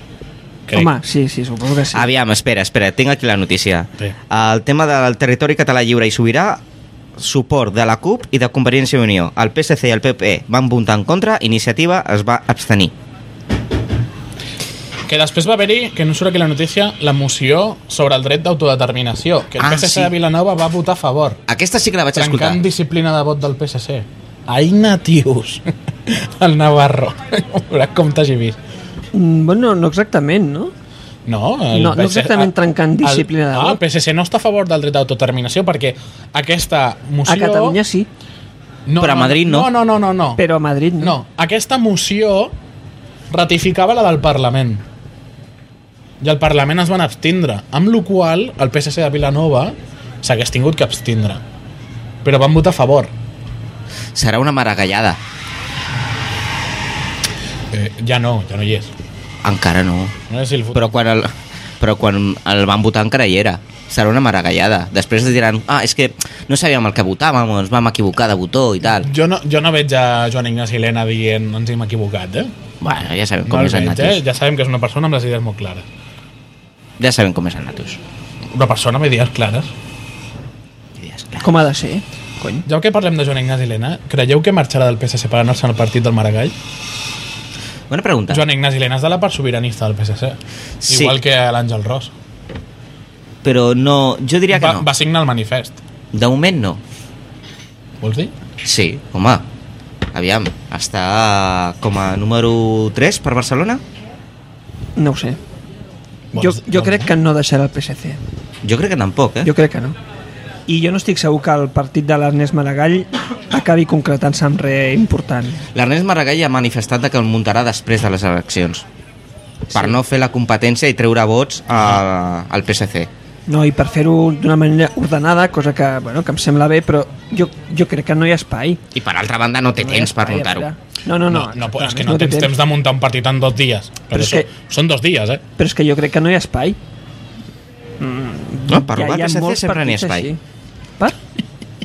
Speaker 2: Crec.
Speaker 3: Home, sí, sí, suposo que sí.
Speaker 4: Aviam, espera, espera, tinc aquí la notícia.
Speaker 2: Sí.
Speaker 4: El tema del territori català lliure i sobirà, suport de la CUP i de Convergència i Unió. El PSC i el PP van votar en contra, Iniciativa es va abstenir.
Speaker 2: Que després va haver-hi, que no surt aquí la notícia, la moció sobre el dret d'autodeterminació, que el
Speaker 4: Ah,
Speaker 2: PSC
Speaker 4: sí.
Speaker 2: de Vilanova va votar a favor,
Speaker 4: Aquesta sí que la vaig escoltar.
Speaker 2: trencant disciplina de vot del PSC. Ai, natius! el Navarro. Veuràs com t'hagi vist.
Speaker 3: Mm, Bueno, no exactament, no?
Speaker 2: No, el
Speaker 3: No, no exactament trencant disciplina de
Speaker 2: el,
Speaker 3: vot.
Speaker 2: Ah, el PSC no està a favor del dret d'autodeterminació perquè aquesta moció...
Speaker 3: A Catalunya sí,
Speaker 2: No,
Speaker 4: Però a
Speaker 2: no,
Speaker 4: Madrid no.
Speaker 2: No, no, no, no. no.
Speaker 3: però a Madrid no.
Speaker 2: No, aquesta moció ratificava la del Parlament. I el Parlament es van abstindre, amb la qual cosa el PSC de Vilanova s'hagués tingut que abstindre. Però van votar a favor.
Speaker 4: Serà una maragallada.
Speaker 2: Eh, ja no, ja no hi és.
Speaker 4: Encara no.
Speaker 2: No sé si el fot-
Speaker 4: Però quan el, però quan el van votar encara hi era. Serà una maragallada. Després diran, ah, és que no sabíem el que votàvem, ens vam equivocar de botó i tal.
Speaker 2: Jo no, jo no veig a Joan Ignasi Helena dient ens hem equivocat, eh?
Speaker 4: Bueno, ja sabem
Speaker 2: No
Speaker 4: com
Speaker 2: el
Speaker 4: és el
Speaker 2: veig, eh?
Speaker 4: Natus.
Speaker 2: Ja sabem que és una persona amb les idees molt clares.
Speaker 4: Ja sabem com és el Natus.
Speaker 2: Una persona amb idees clares.
Speaker 4: I ja és clar.
Speaker 3: Com ha de ser, eh? cony?
Speaker 2: Ja que parlem de Joan Ignasi Helena, creieu que marxarà del PSC per anar-se al partit del Maragall?
Speaker 4: Bona pregunta.
Speaker 2: Joan Ignasi Helena és de la part sobiranista del PSC.
Speaker 4: Sí.
Speaker 2: Igual que l'Àngel Ros.
Speaker 4: Però no, jo diria que
Speaker 2: Va,
Speaker 4: no.
Speaker 2: va signar el manifest.
Speaker 4: De moment no.
Speaker 2: Vols dir?
Speaker 4: Sí, home. Aviam, està com a número 3 per Barcelona?
Speaker 3: No ho sé. Jo,
Speaker 2: Vols,
Speaker 3: jo crec que no deixarà el PSC.
Speaker 4: Jo crec que tampoc, eh?
Speaker 3: Jo crec que no. I jo no estic segur que el partit de l'Ernest Maragall acabi concretant-se amb res important.
Speaker 4: L'Ernest Maragall ha manifestat que el muntarà després de les eleccions per no fer la competència i treure vots a, al PSC.
Speaker 3: No, i per fer-ho d'una manera ordenada, cosa que, bueno, que em sembla bé, però jo, jo crec que no hi ha espai.
Speaker 4: I per altra banda no té
Speaker 3: No hi ha
Speaker 4: temps per
Speaker 3: espai, a
Speaker 4: muntar-ho.
Speaker 3: veure. No, no, no.
Speaker 2: No, no, és
Speaker 3: exactament,
Speaker 2: que no,
Speaker 3: té
Speaker 2: tens temps de muntar un partit en dos dies. Però,
Speaker 3: Però és
Speaker 2: això,
Speaker 3: que-
Speaker 2: Són dos dies, eh?
Speaker 3: Però és que jo crec que no hi ha espai.
Speaker 4: Mm. No, per robar
Speaker 3: hi ha
Speaker 4: al PSC
Speaker 3: molts
Speaker 4: sempre n'hi ha
Speaker 3: partits
Speaker 4: espai.
Speaker 3: així. Per?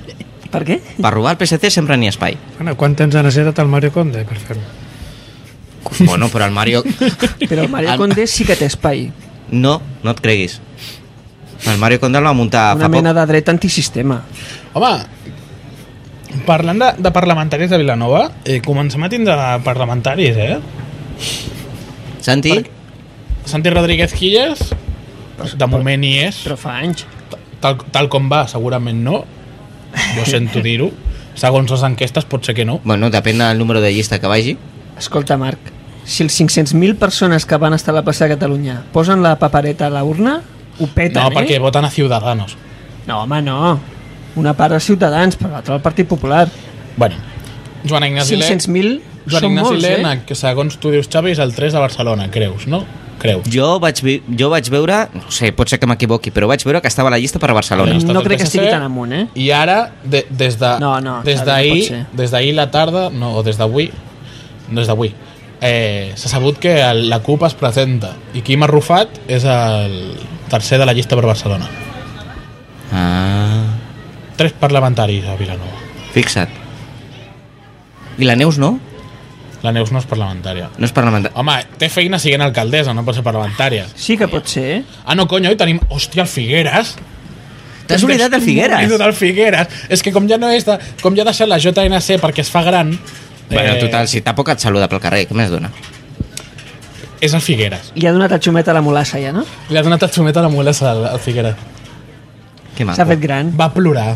Speaker 3: Per què?
Speaker 4: Per robar al PSC sempre n'hi ha espai.
Speaker 5: Bueno, quant temps ha necessitat el Mario Conde per fer-ho?
Speaker 4: Bueno, però el Mario...
Speaker 3: Però el Mario
Speaker 4: El-
Speaker 3: Conde sí que té espai.
Speaker 4: No, no et creguis. El Mario Conde el va muntar
Speaker 3: Una
Speaker 4: fa poc.
Speaker 3: mena de dret antisistema.
Speaker 2: Home, parlant de, de parlamentaris de Vilanova, eh, comencem a tindre parlamentaris, eh?
Speaker 4: Santi,
Speaker 2: Santi Rodríguez Quilles, de moment hi és.
Speaker 3: Però fa anys.
Speaker 2: Tal, tal com va, segurament no. Jo sento dir-ho. Segons les enquestes, pot ser que no.
Speaker 4: bueno, depèn del número de llista que vagi.
Speaker 3: Escolta, Marc, si els 500.000 persones que van estar a la plaça de Catalunya posen la papereta a la urna, ho peten,
Speaker 2: No, perquè
Speaker 3: eh?
Speaker 2: voten a Ciudadanos.
Speaker 3: No, home, no. Una part de Ciutadans, però l'altra del Partit Popular.
Speaker 2: Bueno, Joan Ignasi Lé-
Speaker 3: 500.000
Speaker 2: Joan
Speaker 3: són
Speaker 2: Ignasi
Speaker 3: molts,
Speaker 2: Lena,
Speaker 3: eh?
Speaker 2: que segons tu dius, Xavi, és el 3 de Barcelona, creus, no? Creus.
Speaker 4: Jo vaig, vi- jo vaig veure, no sé, pot ser que m'equivoqui, però vaig veure que estava a la llista per a Barcelona.
Speaker 2: Estat
Speaker 3: No
Speaker 2: del
Speaker 3: crec que
Speaker 2: PSC,
Speaker 3: estigui tan amunt, eh?
Speaker 2: I ara, de, des de,
Speaker 3: No, no,
Speaker 2: des
Speaker 3: Xavi, no pot
Speaker 2: d'ahir,
Speaker 3: ser.
Speaker 2: des d'ahir la tarda, no, o des d'avui, no és d'avui, eh, s'ha sabut que el, la CUP es presenta i Quim Arrufat és el tercer de la llista per Barcelona.
Speaker 4: Ah,
Speaker 2: Tres parlamentaris a Vilanova.
Speaker 4: fixa't. I la Neus no?
Speaker 2: La Neus no és parlamentària.
Speaker 4: No és Oh, parlamentària.
Speaker 2: Home, té feina siguent alcaldessa, no pot ser parlamentària.
Speaker 3: Sí que pot ser, eh?
Speaker 2: Ah, no, conyo, i tenim... Hòstia, el Figueres!
Speaker 4: T'has oblidat del
Speaker 2: He
Speaker 4: Figueres?
Speaker 2: oblidat el Figueres. És que com ja no és de, com ja ha deixat la JNC perquè es fa gran... eh,
Speaker 4: Bueno, total, si tampoc et saluda pel carrer, què més dona?
Speaker 2: És el Figueres.
Speaker 3: Li ha donat el xumet a la mulassa, ja, no?
Speaker 2: Li ha donat el xumet a la mulassa al, al Figueres.
Speaker 4: Que
Speaker 3: S'ha fet
Speaker 4: maco.
Speaker 3: gran.
Speaker 2: Va plorar.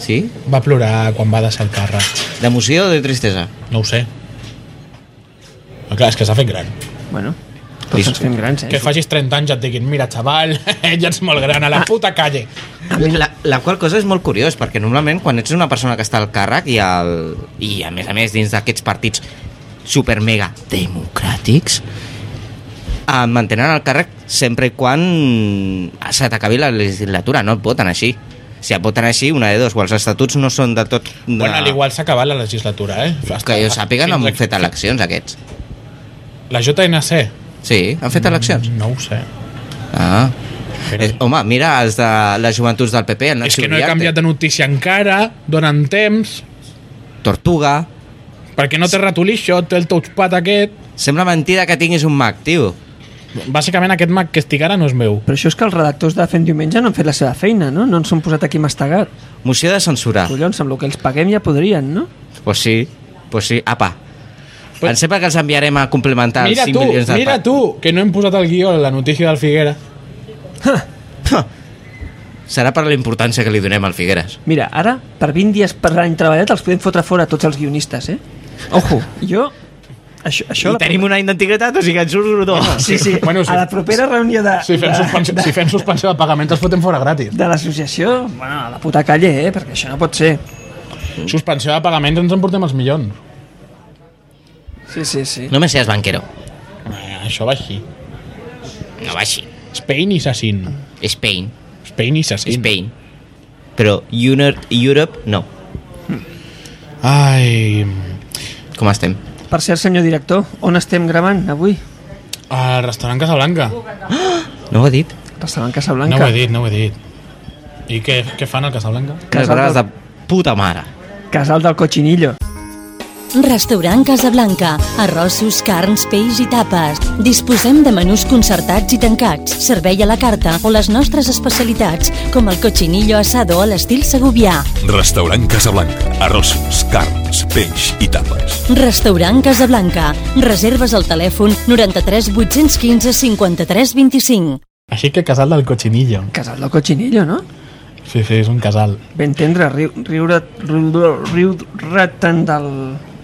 Speaker 4: Sí?
Speaker 2: Va plorar quan va deixar el càrrec.
Speaker 4: D'emoció o de tristesa?
Speaker 2: No ho sé. Però clar, és que s'ha fet gran.
Speaker 3: Bueno, tots ens fem grans, eh?
Speaker 2: Que facis 30 anys i et diguin mira, xaval, ja ets molt gran, a
Speaker 4: Ah.
Speaker 2: la puta calle.
Speaker 4: La, la qual cosa és molt curiós, perquè normalment quan ets una persona que està al càrrec i, el, i a més a més dins d'aquests partits super mega democràtics eh, mantenen el càrrec sempre i quan se t'acabi la legislatura, no et voten així. Si et voten així, una de dos, o els estatuts no són de tot... De...
Speaker 2: No. Bueno, a l'igual s'ha acabat la legislatura, eh?
Speaker 4: Que jo sàpiga, no
Speaker 2: Fins
Speaker 4: han
Speaker 2: a-
Speaker 4: fet eleccions, aquests.
Speaker 2: La JNC? Mm.
Speaker 4: Sí, han fet eleccions.
Speaker 2: No ho sé.
Speaker 4: Ah. Eh, home, mira els de les joventuts del PP, el Nacho
Speaker 2: És que no he
Speaker 4: Uriarte.
Speaker 2: canviat de notícia encara, donen temps,
Speaker 4: Tortuga...
Speaker 2: perquè no té ratolí això, té el touchpad aquest.
Speaker 4: Sembla mentida que tinguis un Mac, tio.
Speaker 2: Bàsicament aquest Mac que estic ara no és meu.
Speaker 3: Però això és que els redactors de Fent Diumenge no han fet la seva feina, no? No ens han posat aquí mastegat.
Speaker 4: Moció de censura.
Speaker 3: Collons, amb el que els paguem ja podrien, no?
Speaker 4: Pues sí, pues sí, apa.
Speaker 2: Pues-
Speaker 4: Pues... Em sembla que els enviarem a complementar
Speaker 2: Mira
Speaker 4: els 5
Speaker 2: tu,
Speaker 4: milions de...
Speaker 2: mira tu, que no hem posat el guió a la notícia del Figuera.
Speaker 4: Serà per la importància que li donem al Figueres.
Speaker 3: Mira, ara, per 20 dies per any treballat, els podem fotre fora tots els guionistes, eh? Ojo, jo... Això, això
Speaker 4: I
Speaker 3: la
Speaker 4: tenim un any d'antiguitat, o sigui que ens surt dos.
Speaker 3: Sí, sí.
Speaker 2: Bueno, sí.
Speaker 3: A la propera reunió de,
Speaker 2: Si fem,
Speaker 3: de,
Speaker 2: suspensió, si fem suspensió de pagament els fotem fora gratis.
Speaker 3: de l'associació, bueno, a la puta calle, eh? Perquè això no pot ser.
Speaker 2: Suspensió de pagament ens en portem els milions.
Speaker 3: Sí, sí, sí.
Speaker 4: No me seas banquero.
Speaker 2: Eh, això va així.
Speaker 4: No va així.
Speaker 2: Spain i Sassin.
Speaker 4: Spain.
Speaker 2: Spain i Sassin.
Speaker 4: Spain. Però Unir- Europe, no.
Speaker 2: Ai...
Speaker 4: Com estem?
Speaker 3: Per cert, senyor director, on estem gravant avui?
Speaker 2: Al restaurant Casablanca.
Speaker 4: No ho he dit?
Speaker 3: Restaurant
Speaker 2: No
Speaker 3: Casablanca.
Speaker 2: ho he dit, no ho he dit. I què, què fan al Casablanca?
Speaker 4: Unes
Speaker 3: Casal
Speaker 4: braves
Speaker 3: del-
Speaker 4: de puta mare.
Speaker 3: Casal del Cochinillo.
Speaker 7: Restaurant Casablanca. Arrossos, carns, peix i tapes. Disposem de menús concertats i tancats, servei a la carta o les nostres especialitats, com el cochinillo asado a l'estil segubià.
Speaker 8: Restaurant Casablanca. Arrossos, carns, peix i tapes.
Speaker 7: Restaurant Casablanca. Reserves al telèfon 93 815 53 25.
Speaker 2: Així que casal del Cochinillo.
Speaker 3: Casal del Cochinillo, no?
Speaker 2: Sí, sí, és un casal.
Speaker 3: Ben tendre, riu, riure, riu, riu, retent del...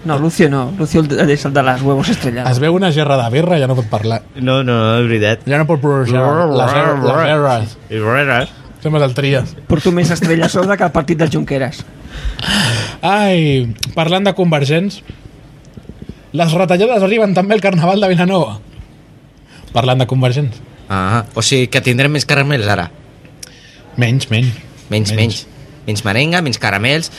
Speaker 3: No, Lucio no. Lucio el de- és el de les huevos estrellades.
Speaker 2: Es veu una gerra de birra i ja no pot parlar.
Speaker 4: No, no, no, és veritat.
Speaker 2: Ja no pot pronunciar les, er-, les berres. Sembla el Trias.
Speaker 3: Porto més estrelles sobre que el partit dels Junqueras.
Speaker 2: Ai, parlant de convergents, les retallades arriben també al Carnaval de Vilanova. Parlant de convergents.
Speaker 4: Ah, o sigui que tindrem més caramels ara.
Speaker 2: Menys, menys.
Speaker 4: Menys, menys. Menys merenga, menys caramels.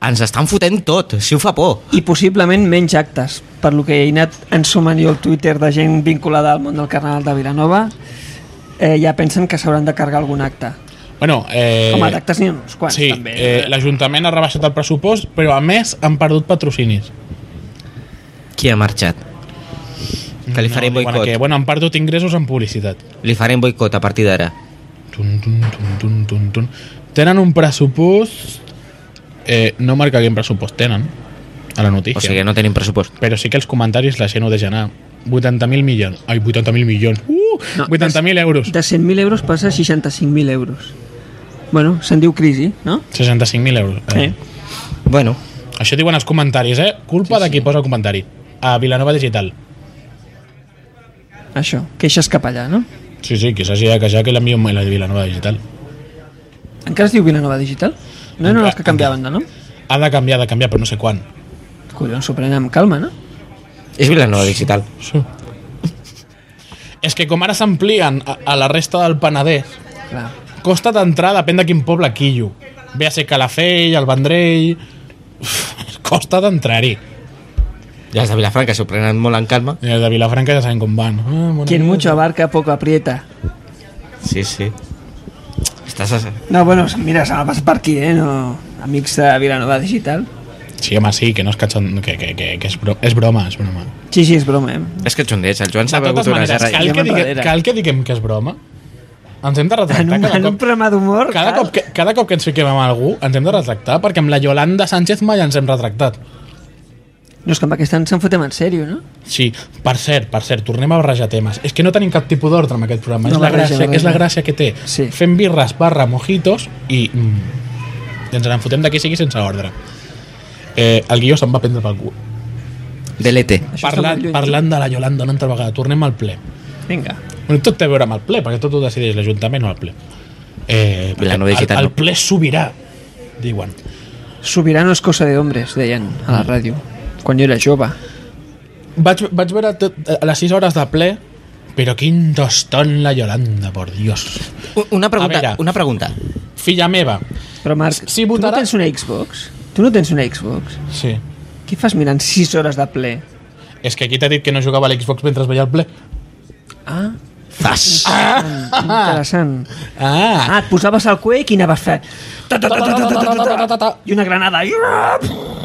Speaker 4: Ens estan fotent tot, si ho fa por.
Speaker 3: I possiblement menys actes, per lo que he anat ensumant jo al Twitter de gent vinculada al món del carnaval de Vilanova, eh, ja pensen que s'hauran de carregar algun acte.
Speaker 2: Bueno, eh,
Speaker 3: Eh, Home, d'actes n'hi ha uns quants,
Speaker 2: sí,
Speaker 3: també.
Speaker 2: eh, l'Ajuntament ha rebaixat el pressupost, però a més han perdut patrocinis.
Speaker 4: Qui ha marxat? Que li farem
Speaker 2: diuen
Speaker 4: boicot.
Speaker 2: Que, bueno, han perdut ingressos en publicitat.
Speaker 4: Li farem boicot a partir d'ara.
Speaker 2: Tun, tun, tun, tun, tun, tun. Tenen un pressupost... Eh, no marca quin pressupost tenen a la notícia.
Speaker 4: O sigui que no tenim pressupost.
Speaker 2: Però sí que els comentaris la gent ho deixa anar. 80.000 milions. Ai, 80.000 milions. Uh,
Speaker 3: No,
Speaker 2: no, 80.000 euros.
Speaker 3: eh. De 100.000 euros passa a 65.000 euros. Bueno, se'n diu crisi, no?
Speaker 2: 65.000 euros.
Speaker 3: Eh.
Speaker 4: Bueno,
Speaker 2: Això diuen els comentaris, eh? Culpa sí, de qui posa el comentari. A Vilanova Digital.
Speaker 3: Això, queixes cap allà, no?
Speaker 2: Sí, sí, que s'hagi de queixar que l'envio un mail a Vilanova Digital.
Speaker 3: Encara es diu Vilanova Digital? No eren els que canviaven de nom?
Speaker 2: Ha de canviar, ha de canviar, però no sé quan.
Speaker 3: Collons, s'ho prenen amb calma, no?
Speaker 4: és Vilanova Digital.
Speaker 2: Sí. És que com ara s'amplien a, a la resta del Penedès,
Speaker 3: Clar.
Speaker 2: costa d'entrar, depèn de quin poble quillo. Ve a ser Calafell, el Vendrell... Uf, costa d'entrar-hi.
Speaker 4: Ja és de Vilafranca, s'ho prenen molt en calma.
Speaker 2: I els Eh, de Vilafranca ja saben com van. Ah, bona
Speaker 3: Quien
Speaker 2: nit.
Speaker 3: mucho abarca, poco aprieta.
Speaker 4: Sí, sí. Estàs... A...
Speaker 3: No, bueno, mira, se m'ha passat per aquí, eh? No, amics de Vilanova Digital.
Speaker 2: Sí, home, sí, que no es catxan... Que, que, que, que és, bro... és broma, és broma.
Speaker 3: Sí, sí, és broma, eh?
Speaker 4: És que xondets, el Joan s'ha
Speaker 2: De
Speaker 4: begut
Speaker 2: totes
Speaker 4: una
Speaker 2: maneres,
Speaker 4: gerra.
Speaker 2: cal
Speaker 3: ja
Speaker 2: que, digue,
Speaker 3: m'enrere.
Speaker 2: cal que diguem que és broma? Ens hem de
Speaker 3: En
Speaker 2: retractar
Speaker 3: un, en
Speaker 2: cada
Speaker 3: un
Speaker 2: cop.
Speaker 3: programa d'humor...
Speaker 2: Cada
Speaker 3: cal.
Speaker 2: cop, que, cada cop que ens fiquem amb algú ens hem de retractar perquè amb la Yolanda Sánchez mai ens hem retractat.
Speaker 3: No, és que amb aquest any se'n fotem en sèrio, no?
Speaker 2: Sí, per cert, per cert, tornem a barrejar temes. És que no tenim cap tipus d'ordre amb aquest programa.
Speaker 3: No,
Speaker 2: No, és, la
Speaker 3: barreja,
Speaker 2: gràcia,
Speaker 3: barreja.
Speaker 2: és la gràcia que té.
Speaker 3: Sí.
Speaker 2: Fem birres barra mojitos i... Mm, i ens en fotem d'aquí sigui sense ordre. Eh, el guió se'n va prendre pel cul.
Speaker 4: Delete.
Speaker 3: Això està
Speaker 2: Parlant,
Speaker 3: molt lluny.
Speaker 2: parlant de la Yolanda una altra vegada, tornem al ple.
Speaker 3: Vinga.
Speaker 2: Bueno, tot té a veure amb el ple, perquè tot ho decideix l'Ajuntament o el ple. Eh, perquè
Speaker 4: Vilanova
Speaker 2: el,
Speaker 4: Digital
Speaker 2: el
Speaker 4: no.
Speaker 2: ple sobirà, diuen.
Speaker 3: Sobirano és cosa de hombres, deien a la ràdio, quan jo era jove.
Speaker 2: Vaig, vaig veure tot, a les 6 hores de ple, però quin tostón la Yolanda, por Dios.
Speaker 4: U- Una
Speaker 2: A veure.
Speaker 4: pregunta, una pregunta.
Speaker 2: Filla meva.
Speaker 3: Però Marc,
Speaker 2: Si
Speaker 3: tu no
Speaker 2: votarà-
Speaker 3: tens una Xbox? Tu no tens una Xbox?
Speaker 2: Sí.
Speaker 3: Què fas mirant 6 hores de ple?
Speaker 2: És que aquí t'ha dit que no jugava a l'Xbox mentre es veia el ple.
Speaker 3: Ah,
Speaker 4: Zas.
Speaker 3: Interessant.
Speaker 2: Ah!
Speaker 3: Ah, et posaves al cuec i anaves fent... ta, ta, ta, ta, ta, ta, ta, ta, ta, ta, I una granada. I-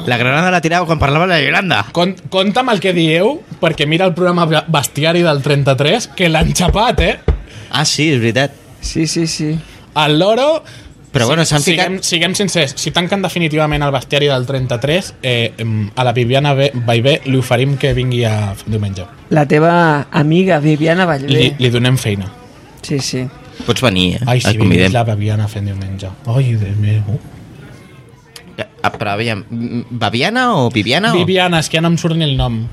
Speaker 4: La granada la tirava quan parlava la Yolanda.
Speaker 2: Con, compta amb el que dieu, perquè mira el programa Ba- bestiari del 33, que l'han xapat, eh?
Speaker 4: Ah, sí, és veritat.
Speaker 3: Sí, sí, sí.
Speaker 2: El loro...
Speaker 4: Però bueno, s'han
Speaker 2: Siguem,
Speaker 4: ficat...
Speaker 2: siguem sincers, si tanquen definitivament el bestiari del 33, eh, em, a la Viviana Ve- Baivé li oferim que vingui a f- diumenge.
Speaker 3: La teva amiga Viviana
Speaker 2: Li,
Speaker 3: Vallvé.
Speaker 2: li donem feina.
Speaker 3: Sí, sí.
Speaker 4: Pots venir, eh?
Speaker 2: Ai, si
Speaker 4: Et
Speaker 2: vingués
Speaker 4: convidem.
Speaker 2: la Viviana fent diumenge. Ai, Déu meu.
Speaker 4: Ah, Però aviam, mm, Baviana o Viviana? o-
Speaker 2: Viviana, és que ja no em surt ni el nom.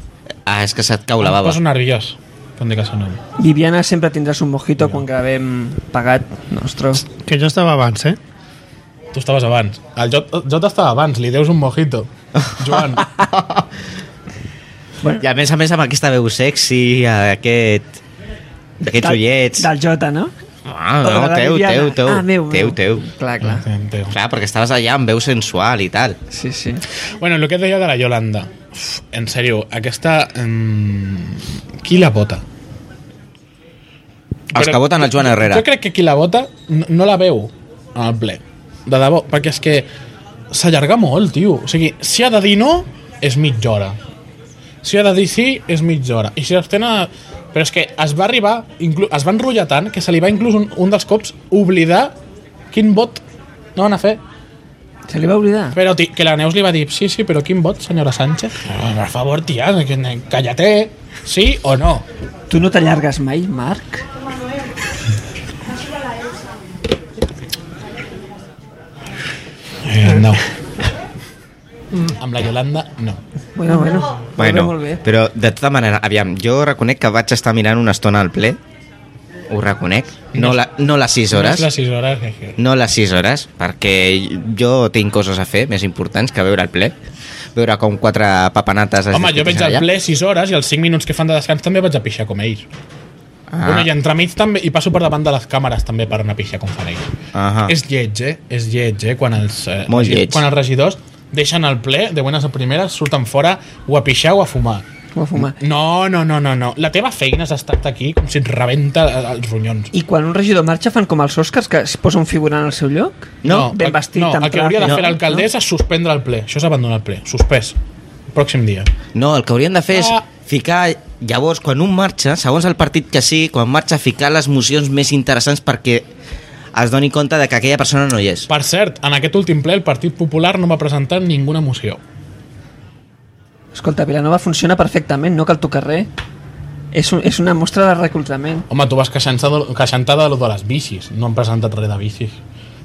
Speaker 4: Ah, és que se't cau la
Speaker 2: Em
Speaker 4: bava.
Speaker 2: poso nerviós quan dic el seu nom.
Speaker 3: Viviana sempre tindràs un mojito quan gravem pagat nostre.
Speaker 5: Que jo estava abans, eh?
Speaker 2: Tu estaves abans. El Jot, Jot estava abans, li deus un mojito. Joan.
Speaker 4: I a més a més amb aquesta veu sexy, aquest... Aquests
Speaker 3: Del-
Speaker 4: ullets...
Speaker 3: Del Jota, no?
Speaker 4: Ah,
Speaker 3: O de
Speaker 4: no,
Speaker 3: la
Speaker 4: teu,
Speaker 3: Viviana.
Speaker 4: teu, teu.
Speaker 3: Ah, meu,
Speaker 4: teu,
Speaker 3: meu.
Speaker 4: teu. Ah,
Speaker 3: Clar, clar.
Speaker 2: Enteu.
Speaker 4: Clar, perquè estaves allà amb veu sensual i tal.
Speaker 3: Sí, sí.
Speaker 2: Bueno, el que et deia de la Yolanda. Uf, en sèrio, aquesta... Mm, qui la vota?
Speaker 4: Els que voten el Joan Herrera.
Speaker 2: Jo crec que qui la vota no, no la veu al ple. De debò, perquè és que s'allarga molt, tio. O sigui, si ha de dir no, és mitja hora. Si ha de dir sí, és mitja hora. I si s'abstena... Però és que es va arribar... Inclu... Es va enrotllar tant que se li va inclús un, un dels cops oblidar quin vot no van a fer.
Speaker 3: Se li va oblidar.
Speaker 2: Però ti- que la Neus li va dir, sí, sí, però quin vot, senyora Sánchez? Ah, Per favor, tia, que- que- cállate. Sí o no?
Speaker 3: Tu no t'allargues mai, Marc?
Speaker 2: Eh, no. Mm. Amb la Yolanda, no.
Speaker 3: Bueno, bueno. Molt bé,
Speaker 4: Bueno,
Speaker 3: molt bé.
Speaker 4: però de tota manera, aviam, jo reconec que vaig estar mirant una estona al ple, ho reconec, no, la, no les 6
Speaker 2: No és les
Speaker 4: hores,
Speaker 2: 6 hores. que- que-
Speaker 4: no les 6 hores, perquè jo tinc coses a fer més importants que veure el ple, veure com quatre papanates... es
Speaker 2: Home, jo veig
Speaker 4: discuteixen
Speaker 2: al
Speaker 4: allà.
Speaker 2: ple 6 hores i els 5 minuts que fan de descans també vaig a pixar com ells. Ah. Bueno, i
Speaker 4: Ah,
Speaker 2: entremig també, i passo per davant de les càmeres també per anar a pixar com fan ells.
Speaker 4: Ahà.
Speaker 2: És lleig, eh? És lleig, eh? Quan els, eh,
Speaker 4: Ah. Molt
Speaker 2: regi-
Speaker 4: lleig.
Speaker 2: quan els regidors deixen el ple, de bones a primeres, surten fora o a pixar o a fumar.
Speaker 3: Ho a fumar.
Speaker 2: No, no, no, no, no. La teva feina és estar aquí com si et rebenta eh, els ronyons.
Speaker 3: I quan un regidor marxa fan com els Oscars que es posa un figurant al seu lloc? ben
Speaker 2: el-
Speaker 3: vestit,
Speaker 2: no,
Speaker 3: amb
Speaker 2: el que hauria de fer
Speaker 3: traje, no?
Speaker 2: l'alcaldessa és suspendre el ple. Això és abandonar el ple. Suspès. Pròxim dia.
Speaker 4: no, el que haurien de fer és
Speaker 2: Ah.
Speaker 4: ficar... Llavors, quan un marxa, segons el partit que sí, quan marxa, ficar les mocions més interessants perquè es doni compte de que aquella persona no hi és.
Speaker 2: Per cert, en aquest últim ple el Partit Popular no va presentar ninguna moció.
Speaker 3: Escolta, Vilanova funciona perfectament, no cal tocar res. És, un, és una mostra de recolzament.
Speaker 2: Home, tu vas queixant-se de- queixant-te de, lo de les bicis. No han presentat res de bicis.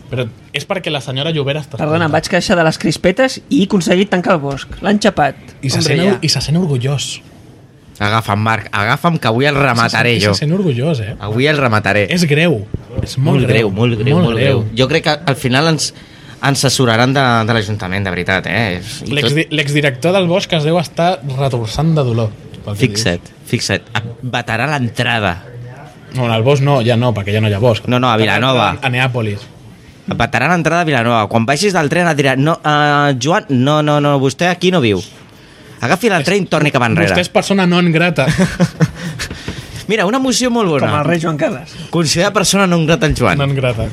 Speaker 2: Però és perquè la senyora Llobera està...
Speaker 3: Perdona, em vaig queixar de les crispetes i he aconseguit tancar el bosc. L'han xapat.
Speaker 2: I se,
Speaker 3: Hombre,
Speaker 2: sent,
Speaker 3: ja.
Speaker 2: i se sent orgullós.
Speaker 4: Agafa'm, Marc, agafa'm, que avui el remataré
Speaker 2: I
Speaker 4: jo.
Speaker 2: Se sent orgullós, eh?
Speaker 4: Avui el remataré.
Speaker 2: És greu. És molt,
Speaker 4: molt greu, molt greu, molt, greu.
Speaker 2: greu.
Speaker 4: Jo crec que al final ens, ens assessoraran de, de l'Ajuntament, de veritat, eh? I tot-
Speaker 2: L'exdi- L'exdirector del Bosch es deu estar retorçant de dolor. pel que
Speaker 4: Fixa't, fixa't. Et Vetarà l'entrada.
Speaker 2: dius. No, al Bosch no, ja no, perquè ja no hi ha Bosch.
Speaker 4: No, no, a Vilanova.
Speaker 2: A Neàpolis.
Speaker 4: Et Vetarà l'entrada a Vilanova. Quan baixis del tren et dirà no, uh, Joan, no, no, no, vostè aquí no viu. Agafi el tren i torni cap enrere.
Speaker 2: Vostè és persona non grata.
Speaker 4: Mira, una moció molt
Speaker 3: Com
Speaker 4: bona.
Speaker 3: el rei Joan Carles.
Speaker 4: Considera persona no grata el Joan.
Speaker 2: non grata.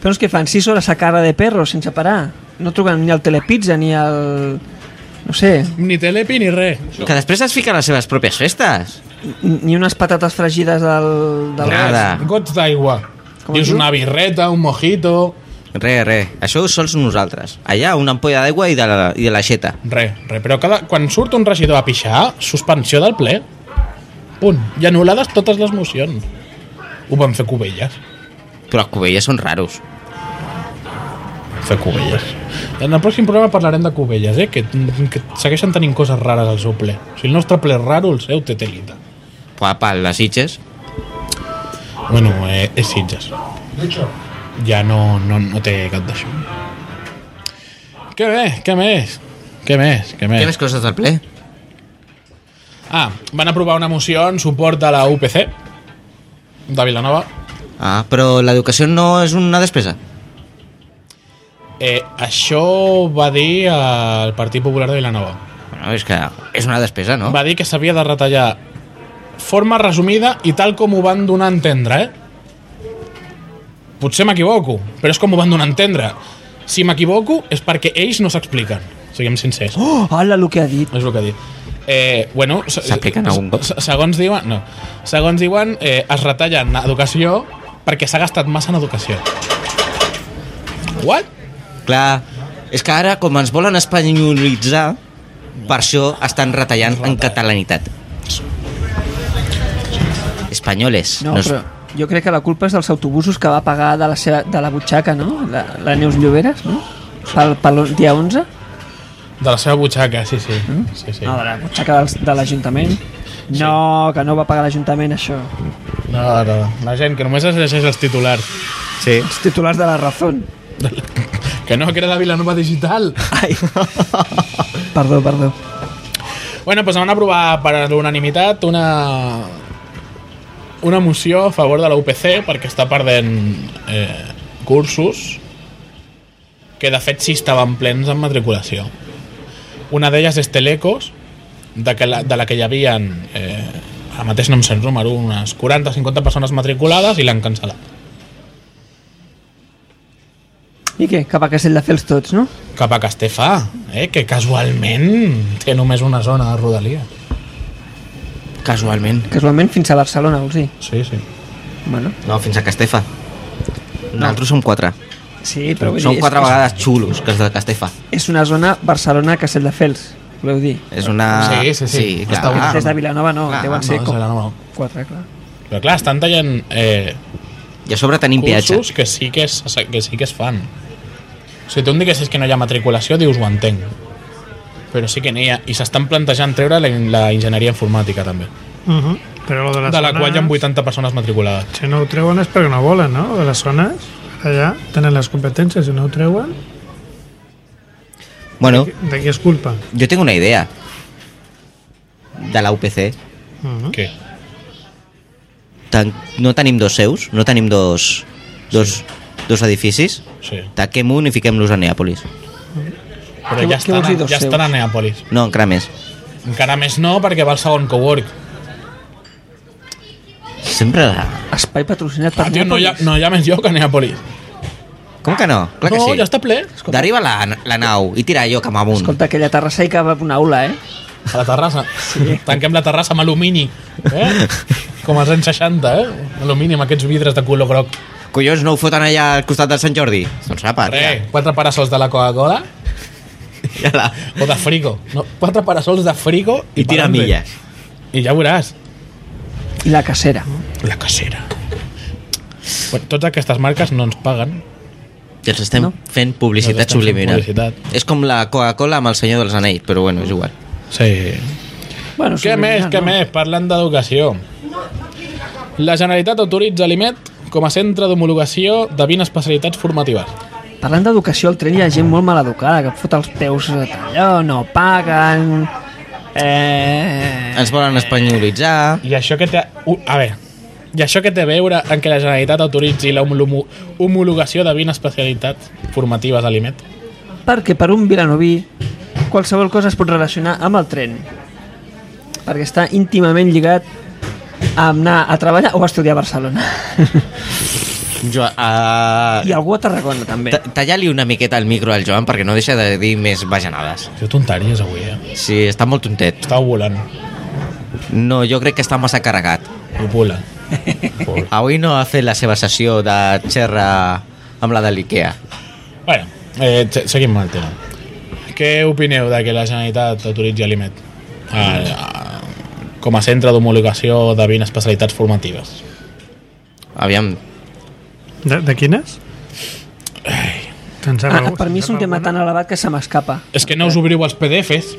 Speaker 3: Però és que fan 6 hores a cara de perro sense parar. No truquen ni al Telepizza ni al... No sé,
Speaker 2: Ni telepi ni res.
Speaker 4: Que després es fica a les seves pròpies festes.
Speaker 3: ni unes patates fregides del... del
Speaker 4: Nada.
Speaker 2: Gots d'aigua.
Speaker 3: Com
Speaker 2: Dius
Speaker 3: es diu?
Speaker 2: una birreta, un mojito...
Speaker 4: Re, re. Això sols nosaltres. Allà, una ampolla d'aigua i de la, i de la xeta.
Speaker 2: Re, re. Però cada, quan surt un regidor a pixar, suspensió del ple. Punt. I anul·lades totes les mocions. Ho van fer Cubelles.
Speaker 4: Però els cubelles són raros.
Speaker 2: Fer Cubelles. En el pròxim programa parlarem de Cubelles, eh? Que, que segueixen tenint coses rares al seu ple. O sigui, el nostre ple és raro, el seu té telita.
Speaker 4: Guapa, les sitges.
Speaker 2: Bueno, eh, és Sitges. Ja no, no, no té cap d'això. Què bé, què més? Què més,
Speaker 3: Eh.
Speaker 2: què més?
Speaker 4: Què més coses del ple?
Speaker 2: Ah, van aprovar una moció en suport de la UPC de Vilanova.
Speaker 4: Ah, però l'educació no és una despesa.
Speaker 2: Eh, això va dir el Partit Popular de Vilanova.
Speaker 4: Bueno, és que és una despesa, no?
Speaker 2: Va dir que s'havia de retallar forma resumida i tal com ho van donar a entendre, eh? Potser m'equivoco, però és com ho van donar a entendre. Si m'equivoco és perquè ells no s'expliquen, siguem sincers. Oh!
Speaker 3: Oh, hala, el que ha dit.
Speaker 2: És el que ha dit. Eh, bueno, se-
Speaker 4: S'apliquen algun cop?
Speaker 2: se- Segons diuen, no. Segons diuen, eh, es retallen en educació perquè s'ha gastat massa en educació. What?
Speaker 4: Clar, és que ara, com ens volen espanyolitzar, per això estan retallant en catalanitat. Espanyoles.
Speaker 3: No,
Speaker 4: és-
Speaker 3: però jo crec que la culpa és dels autobusos que va pagar de la, seva, de la butxaca, no? La, la Neus Lloberes, no? Pel, pel dia 11?
Speaker 2: De la seva butxaca, sí, sí.
Speaker 4: Mm?
Speaker 2: sí, sí.
Speaker 3: No, de la butxaca dels, de l'Ajuntament. No, que no va pagar l'Ajuntament, això.
Speaker 2: No, no, la gent que només es llegeix els titulars.
Speaker 4: Sí.
Speaker 3: Els titulars de la Razón.
Speaker 2: Que no, que era la Vilanova Digital.
Speaker 3: Ai. perdó, perdó.
Speaker 2: Bueno, doncs van aprovar per l'unanimitat una una moció a favor de la UPC perquè està perdent eh, cursos que de fet sí estaven plens en matriculació. Una d'elles és Telecos, de, que la, de la que hi havia eh, ara mateix no em sent número, unes 40-50 persones matriculades i l'han cancel·lat.
Speaker 3: I què? Cap a Castelldefels tots, no?
Speaker 2: Cap a Castefa, eh, que casualment té només una zona de rodalia.
Speaker 4: Casualment.
Speaker 3: Casualment fins a Barcelona, vols dir?
Speaker 2: Sí, sí.
Speaker 3: Bueno,
Speaker 4: No, fins a Castefa. Nosaltres som quatre.
Speaker 3: sí, però vull
Speaker 4: Són
Speaker 3: dir,
Speaker 4: quatre
Speaker 3: és,
Speaker 4: vegades xulos, que els de Castefa.
Speaker 3: és una zona Barcelona-Castelldefels, voleu dir?
Speaker 4: És una...
Speaker 2: Sí, sí, sí.
Speaker 4: sí clar.
Speaker 2: Està
Speaker 3: Ah,
Speaker 2: Ah,
Speaker 3: Des de Vilanova no,
Speaker 4: clar,
Speaker 3: deuen ser
Speaker 2: no,
Speaker 3: com
Speaker 2: serà normal.
Speaker 3: quatre, clar.
Speaker 2: Però clar, estan tallant eh,
Speaker 4: I a sobre tenim peatge.
Speaker 2: cursos que sí que, es, que sí que es fan. O sigui, tu em diguessis que no hi ha matriculació, dius ho entenc. Però sí que n'hi ha. I s'estan plantejant treure la, la enginyeria informàtica, també.
Speaker 5: Uh -huh. Però lo de, les
Speaker 2: Mhm. De la
Speaker 5: zones,
Speaker 2: qual hi ha 80 persones matriculades.
Speaker 5: Si no ho treuen és perquè no volen, no? De les zones, allà tenen les competències, si no ho treuen,
Speaker 4: Bueno,
Speaker 5: de qui és culpa?
Speaker 4: yo tengo una idea. De la UPC.
Speaker 5: Uh -huh.
Speaker 2: Què?
Speaker 4: Tan... No tenim dos seus, no tenim dos, dos, dos edificis.
Speaker 2: Sí.
Speaker 4: Taquem un i fiquem-los a Neàpolis.
Speaker 2: Però
Speaker 3: Què-
Speaker 2: ja
Speaker 3: què vols
Speaker 2: estan,
Speaker 3: dir
Speaker 2: a,
Speaker 3: dels
Speaker 2: ja
Speaker 3: seus?
Speaker 2: estan a Neàpolis.
Speaker 4: No, encara més.
Speaker 2: Encara més no, perquè va al segon cowork.
Speaker 4: Sempre... La...
Speaker 3: Espai patrocinat per
Speaker 2: Ah, tio, no hi, ha,
Speaker 3: Nàpolis.
Speaker 2: no hi ha més lloc a Neàpolis.
Speaker 4: Com que no? Clar que
Speaker 2: no,
Speaker 4: sí.
Speaker 2: ja està ple.
Speaker 4: D'arriba la, la nau i tira allò cap amunt.
Speaker 3: Escolta, aquella terrassa hi cap una aula, eh?
Speaker 2: A la terrassa. Sí. Tanquem la terrassa amb alumini. Eh? Com als anys 60, eh? Alumini amb aquests vidres de color groc.
Speaker 4: Collons, no ho foten allà al costat del Sant Jordi? Doncs apa,
Speaker 2: Re, quatre parasols de la Coca-Cola
Speaker 4: tira. I, la...
Speaker 2: o de Frigo. No, quatre parasols de Frigo i,
Speaker 4: I tira
Speaker 2: pa'lante.
Speaker 4: milles.
Speaker 2: I ja veuràs.
Speaker 3: I la cacera.
Speaker 2: La casera. Bueno, totes aquestes marques no ens paguen.
Speaker 4: I els estem
Speaker 3: No.
Speaker 4: no. fent publicitat
Speaker 2: Els estem fent
Speaker 4: subliminal.
Speaker 2: publicitat.
Speaker 4: És com la Coca-Cola amb el Senyor dels Anells, però bueno, és igual.
Speaker 2: Sí.
Speaker 3: Bueno,
Speaker 2: Què més,
Speaker 3: subliminal,
Speaker 2: què
Speaker 3: no?
Speaker 2: més? Parlant d'educació. La Generalitat autoritza l'IMET com a centre d'homologació de 20 especialitats formatives.
Speaker 3: Parlant d'educació, al tren hi ha gent molt mal educada, que fot els peus a talló, no paguen... Eh...
Speaker 4: Ens volen espanyolitzar...
Speaker 2: I això que té... u- A veure, i això que té a veure en que la Generalitat autoritzi la homolomu- homologació de 20 especialitats formatives a l'IMET?
Speaker 3: Perquè per un vilanoví qualsevol cosa es pot relacionar amb el tren. Perquè està íntimament lligat a anar a treballar o a estudiar a Barcelona.
Speaker 4: Jo, uh...
Speaker 3: I algú a Tarragona, també.
Speaker 4: Talla-li una miqueta el micro al Joan perquè no deixa de dir més bajanades.
Speaker 2: Jo tonteries avui, eh?
Speaker 4: Sí, està molt tontet.
Speaker 2: Estava volant.
Speaker 4: No, jo crec que està massa carregat.
Speaker 2: Ho vola.
Speaker 4: Avui no ha fet la seva sessió de xerra amb la de l'IKEA.
Speaker 2: bueno, eh, se- seguim amb el tema. Què opineu de que la Generalitat autoritzi l'IMET a- a- com a centre d'homologació de 20 especialitats formatives?
Speaker 4: Aviam,
Speaker 5: De, de quines? Te'n sap
Speaker 3: Ah,
Speaker 5: algú-
Speaker 3: per mi és un tema tan elevat que se m'escapa.
Speaker 2: És que no us obriu els PDFs?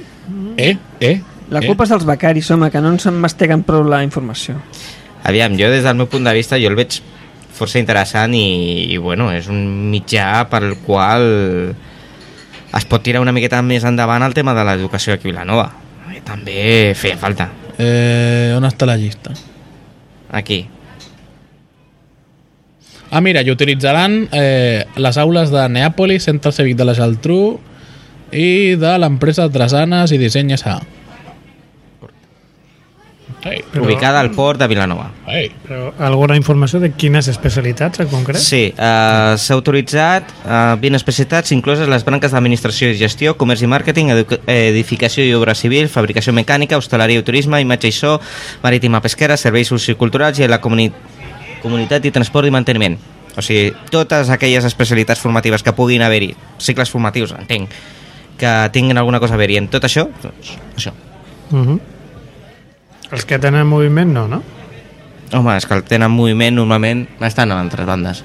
Speaker 2: Eh? Eh?
Speaker 3: La
Speaker 2: eh?
Speaker 3: culpa és dels becaris, home, que no ens en masteguen prou la informació.
Speaker 4: Aviam, jo des del meu punt de vista jo el veig força interessant i, i bueno, és un mitjà pel qual es pot tirar una miqueta més endavant el tema de l'educació aquí a Vilanova. Eh, També feia falta.
Speaker 2: Eh, on està la llista?
Speaker 4: Aquí.
Speaker 2: Ah, mira, i utilitzaran eh, les aules de Neàpolis, Centre Cívic de la Geltrú i de l'empresa Dresanes i Disseny S.A. Ei,
Speaker 5: Però-
Speaker 4: ubicada al port de Vilanova.
Speaker 2: ei.
Speaker 5: Però alguna informació de quines especialitats en concret?
Speaker 4: Sí, eh, s'ha autoritzat eh, 20 especialitats incloses les branques d'administració i gestió, comerç i màrqueting, edu- edificació i obra civil, fabricació mecànica, hostaleria i turisme, imatge i so, marítima pesquera, serveis socioculturals i la comuni comunitat i transport i manteniment. O sigui, totes aquelles especialitats formatives que puguin haver-hi, cicles formatius, entenc, que tinguin alguna cosa a veure-hi. En tot això, doncs, això.
Speaker 5: Uh -huh. Els que tenen moviment no, no?
Speaker 4: Home, és que el tenen moviment normalment estan a altres bandes.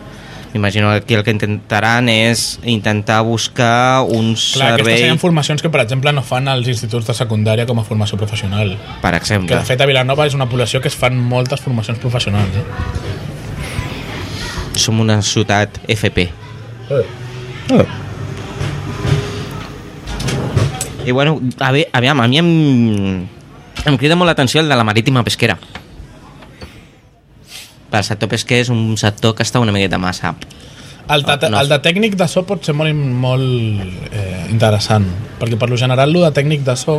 Speaker 4: M'imagino que aquí el que intentaran és intentar buscar un
Speaker 2: Clar, aquestes
Speaker 4: servei,
Speaker 2: serien formacions que, per exemple, no fan als instituts de secundària com a formació professional.
Speaker 4: per
Speaker 2: Que,
Speaker 4: exemple.
Speaker 2: de fet, a Vilanova és una població que es fan moltes formacions professionals. Eh?
Speaker 4: Som una ciutat Eh. FP.
Speaker 2: Eh.
Speaker 4: I bueno, a ve, aviam, a mi em, em crida molt l'atenció el de la marítima pesquera. Per sector pesquer és un sector que està una miqueta massa...
Speaker 2: El, de,
Speaker 4: No, no.
Speaker 2: el de tècnic de so pot ser molt, molt eh, interessant, perquè per lo general lo de tècnic de so,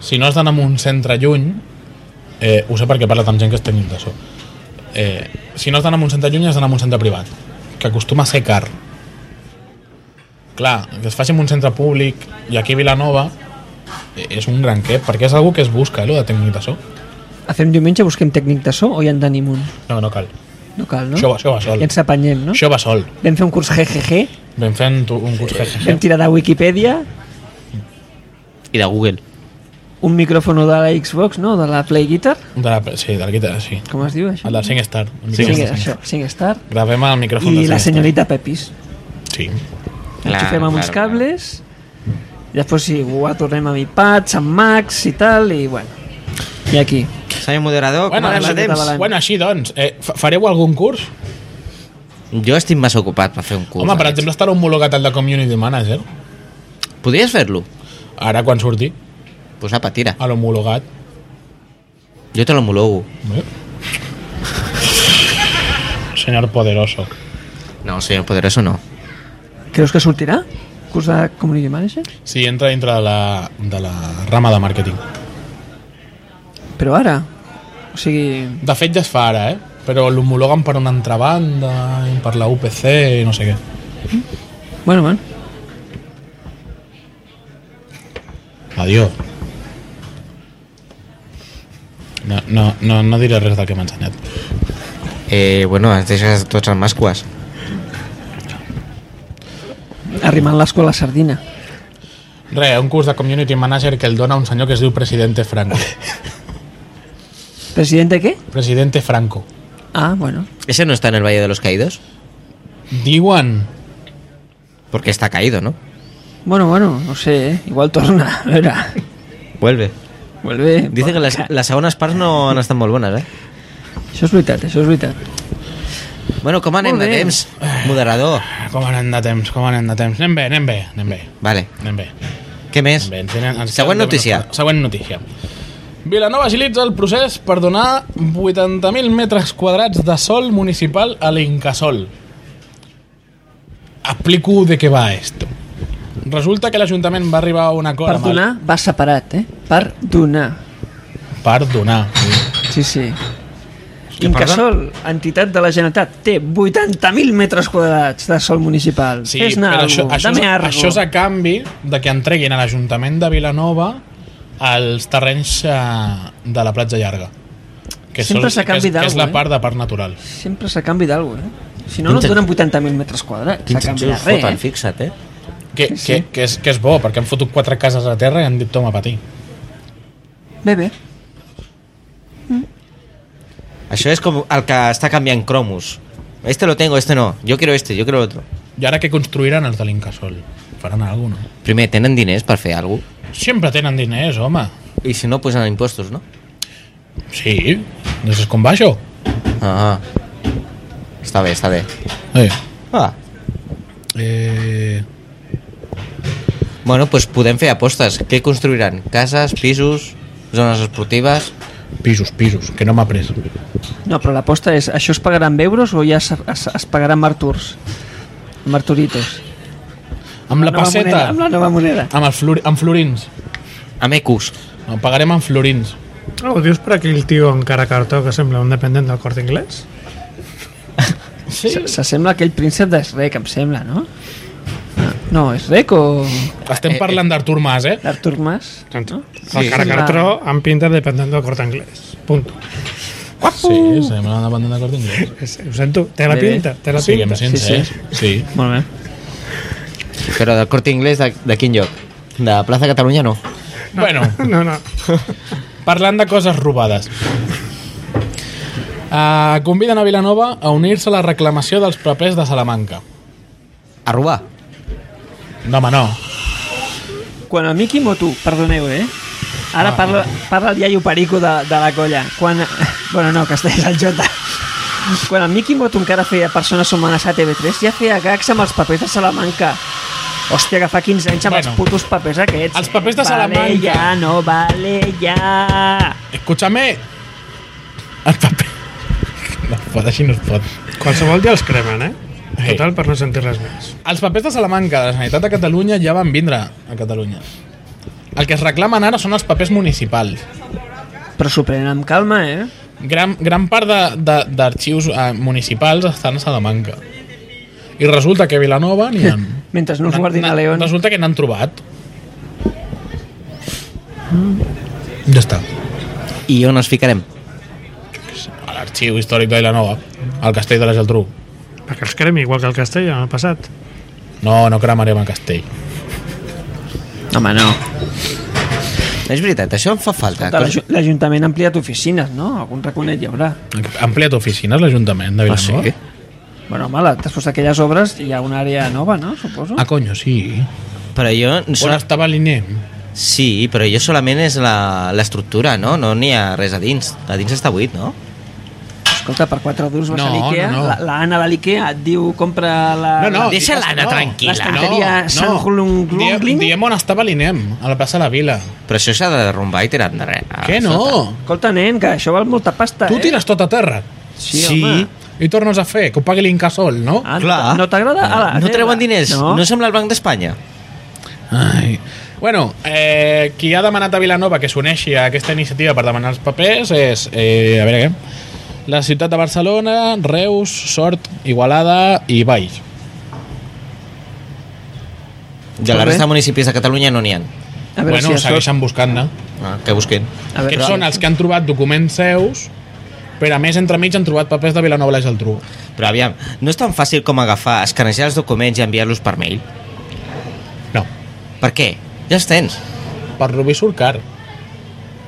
Speaker 2: si no has d'anar a un centre lluny, eh, ho sé perquè parla amb gent que és tècnic de so, eh, si no has d'anar a un centre lluny has d'anar a un centre privat, que acostuma a ser car. Clar, que es faci en un centre públic i aquí a Vilanova eh, és un gran què, perquè és algú que es busca, eh, lo de tècnic de so.
Speaker 3: Fem diumenge, busquem tècnic de so o ja en tenim un?
Speaker 2: No, no cal.
Speaker 3: No cal, no?
Speaker 2: Això va- això va sol.
Speaker 3: I ens apanyem, no?
Speaker 2: No? Això va sol.
Speaker 3: Vam fer un curs GGG,
Speaker 2: Vam fent tu- un curs que...
Speaker 3: vam tirar de Wikipedia,
Speaker 4: I de Google.
Speaker 3: un micròfon de la Xbox, no? De la Play Guitar,
Speaker 2: De la, sí, de la guitarra, sí.
Speaker 3: com es diu això?
Speaker 2: El del SingStar. el
Speaker 3: Sí,
Speaker 2: micròfon de
Speaker 3: això,
Speaker 2: SingStar.
Speaker 3: SingStar.
Speaker 2: Gravem al micròfon
Speaker 3: I
Speaker 2: del
Speaker 3: la
Speaker 2: SingStar.
Speaker 3: senyorita Pepis.
Speaker 2: Sí.
Speaker 4: Clar,
Speaker 3: Enxufem amb uns
Speaker 4: clar, clar.
Speaker 3: cables, i després sí, ho tornem a mi patx, amb Max i tal, i bueno. I aquí.
Speaker 4: Senyor moderador,
Speaker 2: Bueno,
Speaker 4: com ara
Speaker 3: la
Speaker 2: així,
Speaker 4: el
Speaker 3: catalana.
Speaker 4: temps?
Speaker 2: bueno, així doncs, eh, fa- fareu algun curs?
Speaker 4: Jo estic massa ocupat per fer un curs.
Speaker 2: Home, per
Speaker 4: d'aquests.
Speaker 2: exemple, estarà homologat el de Community Manager.
Speaker 4: Podries fer-lo?
Speaker 2: Ara, quan surti,
Speaker 4: Pues apa, tira.
Speaker 2: a l'homologat.
Speaker 4: Jo te l'homologo.
Speaker 2: Bé. Senyor Poderoso.
Speaker 4: No, senyor Poderoso no.
Speaker 3: Creus que sortirà? Curs de Community Manager?
Speaker 2: Sí, entra dintre de la, de la rama de màrqueting.
Speaker 3: Però ara? O sigui...
Speaker 2: De fet, ja es fa ara, eh? Però l'homologuen per una altra banda, i per la UPC i no sé què.
Speaker 3: Bueno, bueno.
Speaker 2: Adiós. No, no, no, no diré res del que m'ha ensenyat.
Speaker 4: Eh, bueno, ens deixes tots els mascues.
Speaker 3: Arrimant l'esco a la sardina.
Speaker 2: Re, un curs de community manager que el dona un senyor que es diu Presidente Franco.
Speaker 3: President de què?
Speaker 2: Presidente Franco.
Speaker 3: Ah, bueno.
Speaker 4: Ese no está en el Valle de los Caídos.
Speaker 2: Diuen...
Speaker 4: Porque está caído, ¿no?
Speaker 3: Bueno, bueno, no sé, eh? Igual torna, a veure.
Speaker 4: Vuelve.
Speaker 3: Vuelve.
Speaker 4: Dice que les, les segones parts no han estat molt bones, eh?
Speaker 3: Això és veritat, això és veritat.
Speaker 4: Bueno, com anem
Speaker 3: Molt
Speaker 4: de
Speaker 3: bé.
Speaker 4: temps? Moderador.
Speaker 2: Ah, Com anem de temps, com anem de temps. Anem bé, anem bé, anem bé.
Speaker 4: Vale.
Speaker 2: Anem bé.
Speaker 4: Què més?
Speaker 2: Anem bé.
Speaker 3: Em
Speaker 2: Ens tenen- ens
Speaker 4: Següent
Speaker 2: tenen-
Speaker 4: notícia.
Speaker 2: Següent notícia. Vilanova agilitza el procés per donar 80.000 metres quadrats de sol municipal a l'Incasol. Explico de què va esto. Resulta que l'Ajuntament va arribar a un acord...
Speaker 3: Per
Speaker 2: amb el-
Speaker 3: donar va separat, eh? Per donar.
Speaker 2: Per donar.
Speaker 3: Sí, sí.
Speaker 4: Que perdó?
Speaker 3: Incasol, entitat de la Generalitat, té 80.000 metres quadrats de sol municipal.
Speaker 2: Sí,
Speaker 3: Fes-ne
Speaker 2: però això,
Speaker 3: algo,
Speaker 2: això,
Speaker 3: dame
Speaker 2: és,
Speaker 3: algo.
Speaker 2: això és a canvi de que entreguin a l'Ajuntament de Vilanova els terrenys eh, de la platja llarga. Que,
Speaker 3: Sempre
Speaker 2: són-
Speaker 3: s'ha
Speaker 2: que,
Speaker 3: canvi
Speaker 2: és, que és
Speaker 3: d'algú,
Speaker 2: la
Speaker 3: eh?
Speaker 2: part de parc natural.
Speaker 3: Sempre s'ha canvi d'alguna eh? Si no, no et
Speaker 4: Quins-
Speaker 3: donen 80.000 metres quadrats. S'ha
Speaker 4: Quins
Speaker 3: canvi de
Speaker 4: enxufs
Speaker 3: res,
Speaker 4: foten,
Speaker 3: eh?
Speaker 4: fixa't, eh?
Speaker 2: Que,
Speaker 3: Sí,
Speaker 2: sí,
Speaker 3: sí.
Speaker 2: que, que, és, que és bo, perquè han fotut quatre cases a terra i han dit toma patir.
Speaker 3: Bé, bé.
Speaker 4: Això és com el que està canviant cromos. Este lo tengo, este no. Jo quiero este, yo quiero otro.
Speaker 2: I ara que construiran els de l'Incasol? Faran alguna cosa,
Speaker 4: Primer, tenen diners per fer alguna cosa?
Speaker 2: no? Sempre tenen diners, home.
Speaker 4: I si no, posen impostos, no?
Speaker 2: Sí, no és com va això.
Speaker 4: Ah. Està bé, està bé.
Speaker 2: Eh.
Speaker 4: Ah.
Speaker 2: Eh,
Speaker 4: Bueno, doncs pues podem fer apostes. Què construiran? Cases, pisos, zones esportives...
Speaker 2: pisos, pisos, que no m'ha pres.
Speaker 3: No, però l'aposta és, això es pagarà amb euros o ja es, es, es pagarà amb arturs? Amb arturitos.
Speaker 2: Amb la,
Speaker 3: nova moneda,
Speaker 2: passeta,
Speaker 3: Amb la nova moneda.
Speaker 2: amb, el flor, amb florins.
Speaker 4: Amb ecus.
Speaker 2: No, pagarem en florins.
Speaker 5: Ah, Ho dius per aquell tio amb cara cartó que sembla un dependent del Corte Inglés?
Speaker 2: Sí.
Speaker 3: Se- S'assembla a aquell príncep de Shrek, em sembla, no? No, és Shrek o
Speaker 2: Estem parlant d'Artur Mas, eh?
Speaker 3: d'Artur Mas?
Speaker 5: No?
Speaker 4: Sí.
Speaker 5: el cara cartó amb pinta de dependent del Corte Inglés. Punto.
Speaker 2: Sí, sembla una banda de cort inglès.
Speaker 5: És- Ho sento, té la
Speaker 3: Bé, bé.
Speaker 5: pinta, té la
Speaker 2: Siguem
Speaker 5: pinta.
Speaker 2: sincers.
Speaker 3: Sí,
Speaker 2: Sí,
Speaker 3: Molt bé.
Speaker 9: Però del Corte Inglés de, de quin lloc? De Plaza Catalunya no.
Speaker 2: Bueno,
Speaker 5: No, no.
Speaker 2: parlant de coses robades. Uh, conviden a Vilanova a unir-se a la reclamació dels papers de Salamanca.
Speaker 9: A robar.
Speaker 2: No, home, no.
Speaker 3: Quan el Miki Motu, perdoneu, eh? Ara
Speaker 2: Ah.
Speaker 3: parla, parla el iaio Perico de, de la colla. Quan... Bueno, no, Castells al Jota. Quan el Miki Motu encara feia persones humanes a TV3, ja feia gags amb els papers de Salamanca. Hòstia, que fa 15 anys amb
Speaker 2: Bueno.
Speaker 3: bueno, els putos papers aquests.
Speaker 2: Els papers de
Speaker 3: Vale,
Speaker 2: Salamanca.
Speaker 3: ja, no, vale, ja.
Speaker 2: Escúchame. El paper... No es pot, així no es pot.
Speaker 5: Qualsevol dia els cremen, eh?
Speaker 2: Ei.
Speaker 5: Total, per no sentir res més.
Speaker 2: Els papers de Salamanca de la Generalitat de Catalunya ja van vindre a Catalunya. El que es reclamen ara són els papers municipals.
Speaker 3: Però s'ho prenen amb calma, eh?
Speaker 2: Gran, gran part de- de- d'arxius eh, municipals estan a Salamanca. I resulta que a Vilanova n'hi ha...
Speaker 3: Mentre no us
Speaker 2: N'han-
Speaker 3: guardin a
Speaker 2: n'han-
Speaker 3: León.
Speaker 2: Resulta que n'han trobat. Ja està.
Speaker 4: I on ens ficarem?
Speaker 2: A l'arxiu històric de Vilanova, al castell de la Geltrú.
Speaker 5: Perquè els cremi, igual que el castell en el passat.
Speaker 2: No, no cremarem el castell.
Speaker 3: Home, no.
Speaker 9: És veritat, això em fa falta. Cosa-
Speaker 3: L'Ajuntament ha ampliat oficines, no? Algun raconet hi haurà.
Speaker 2: Ha ampliat oficines l'Ajuntament de
Speaker 9: Ah,
Speaker 2: Vilanova?
Speaker 9: sí?
Speaker 3: Bueno, home, la- després d'aquelles obres hi ha una àrea nova, no? Suposo.
Speaker 2: Ah, coño, sí.
Speaker 4: Però jo...
Speaker 2: On
Speaker 4: Sol...
Speaker 2: estava l'INEM?
Speaker 4: Sí, però jo solament és la- l'estructura, no? No n'hi ha res a dins. A dins està buit, no?
Speaker 3: Escolta, per quatre durs vas
Speaker 2: No,
Speaker 3: a l'Ikea,
Speaker 2: no, no.
Speaker 3: la- l'Anna de l'Ikea et diu compra la... la-
Speaker 4: deixa
Speaker 2: digues
Speaker 4: l'Anna tranquil·la.
Speaker 3: L'estanteria Sant Hulunglungling?
Speaker 2: Oh, Diem, diem on estava l'INEM, a la plaça de la Vila.
Speaker 4: Però això s'ha de derrumbar i tirar endarrere.
Speaker 3: Ah,
Speaker 2: Què no?
Speaker 3: Escolta, nen, que això val molta pasta,
Speaker 2: Tu
Speaker 3: eh?
Speaker 2: tires tot a terra
Speaker 3: Sí,
Speaker 4: Sí.
Speaker 3: home.
Speaker 2: i tornes a fer, que ho pagui l'Incasol, no?
Speaker 3: Ah,
Speaker 4: Clar.
Speaker 3: No t'agrada? Ala,
Speaker 4: No
Speaker 3: nena.
Speaker 4: treuen diners. No,
Speaker 3: No.
Speaker 4: no sembla el Banc d'Espanya.
Speaker 2: Ai. Bueno, eh, qui ha demanat a Vilanova que s'uneixi a aquesta iniciativa per demanar els papers és, eh, a veure què, la ciutat de Barcelona, Reus, Sort, Igualada i Valls.
Speaker 4: De la
Speaker 3: Molt bé.
Speaker 4: resta de municipis de Catalunya no n'hi ha.
Speaker 3: A veure
Speaker 2: Bueno,
Speaker 3: si a sort...
Speaker 2: segueixen buscant-ne.
Speaker 4: Ah, que busquin.
Speaker 3: A
Speaker 2: Que
Speaker 3: veure,
Speaker 2: són els que han trobat documents seus, però a més, entremig han trobat papers de Vilanova i la Geltrú.
Speaker 4: Però aviam, no és tan fàcil com agafar, escanejar els documents i enviar-los per mail.
Speaker 2: No,
Speaker 4: Per què? Ja els tens.
Speaker 2: per Rubí surt car.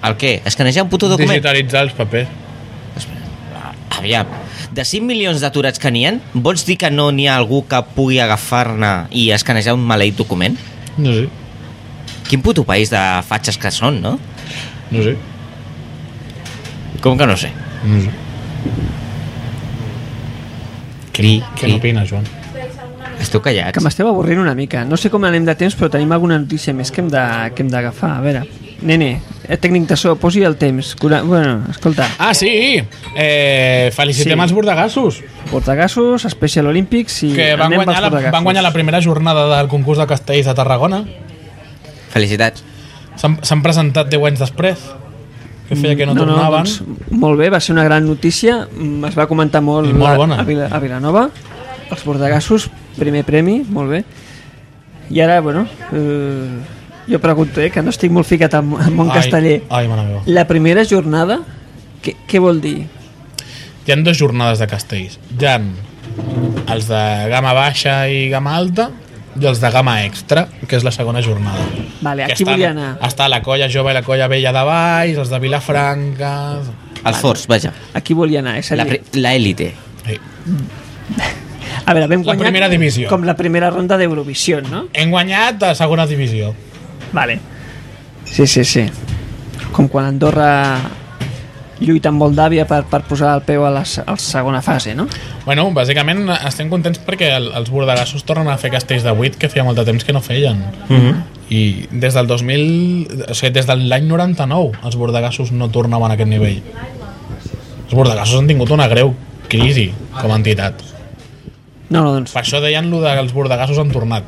Speaker 4: El què? Escanejar un puto document?
Speaker 2: Digitalitzar els papers.
Speaker 4: Aviam, de 5 milions d'aturats que n'hi ha, vols dir que no n'hi ha algú que pugui agafar-ne i escanejar un maleït document?
Speaker 2: No sé,
Speaker 4: Quin puto país de fatxes que són, no?
Speaker 2: no sé.
Speaker 4: Com que no sé?
Speaker 2: No sé.
Speaker 4: Cri,
Speaker 2: Què
Speaker 4: cri.
Speaker 2: n'opines, Joan?
Speaker 4: Esteu
Speaker 3: Que
Speaker 4: callats.
Speaker 3: m'esteu avorrint una mica. No sé com anem de temps, però tenim alguna notícia més que hem de- que hem d'agafar. A veure, nene, eh, tècnic de so, posi el temps. Cura... Bueno, escolta,
Speaker 2: Ah, sí! Eh, felicitem
Speaker 3: Sí.
Speaker 2: sí. els bordegassos,
Speaker 3: portagassos, Special Olympics i
Speaker 2: que van
Speaker 3: anem
Speaker 2: guanyar,
Speaker 3: pels
Speaker 2: la,
Speaker 3: portagassos.
Speaker 2: van guanyar la primera jornada del concurs de castells de Tarragona.
Speaker 4: Felicitats.
Speaker 2: S'han s'han presentat 10 anys després, que feia que no, no tornaven. No,
Speaker 3: doncs, molt bé, va ser una gran notícia, mm, es va comentar molt,
Speaker 2: I molt
Speaker 3: a-
Speaker 2: bona.
Speaker 3: A, Vila, a Vilanova, els bordegassos, primer premi, molt bé. I ara, bueno, eh, jo pregunto, eh, que no estic molt ficat en, en món casteller.
Speaker 2: Ai, ai, mare meva.
Speaker 3: La primera jornada, què, què vol dir?
Speaker 2: Hi han dues jornades de castells. Hi han els de gamma baixa i gamma alta i els de gamma extra, que és la segona jornada.
Speaker 3: Vale,
Speaker 2: que
Speaker 3: aquí
Speaker 2: estan-
Speaker 3: volia anar.
Speaker 2: Està la colla jove i la colla vella de Valls, els de Vilafranca...
Speaker 4: Els forts, vaja.
Speaker 3: Aquí volia anar, eh, és a
Speaker 4: La
Speaker 3: dir,
Speaker 4: pri- La élite.
Speaker 2: Sí.
Speaker 3: a veure, vam
Speaker 2: la
Speaker 3: guanyar
Speaker 2: primera divisió.
Speaker 3: com la primera ronda d'Eurovisió, no?
Speaker 2: Hem guanyat a segona divisió.
Speaker 3: Vale. Sí, sí, sí. Com quan Andorra lluita amb Moldàvia per, per posar el peu a la, se- a la segona fase, no?
Speaker 2: Bueno, bàsicament estem contents perquè el, els bordegassos tornen a fer castells de 8 que feia molt de temps que no feien. Mm -hmm. I des del 2000, o sigui, des de l'any 99 els bordegassos no tornaven a aquest nivell. Els bordegassos han tingut una greu crisi com a entitat.
Speaker 3: No, no, doncs...
Speaker 2: Per això deien lo de que els bordegassos han tornat.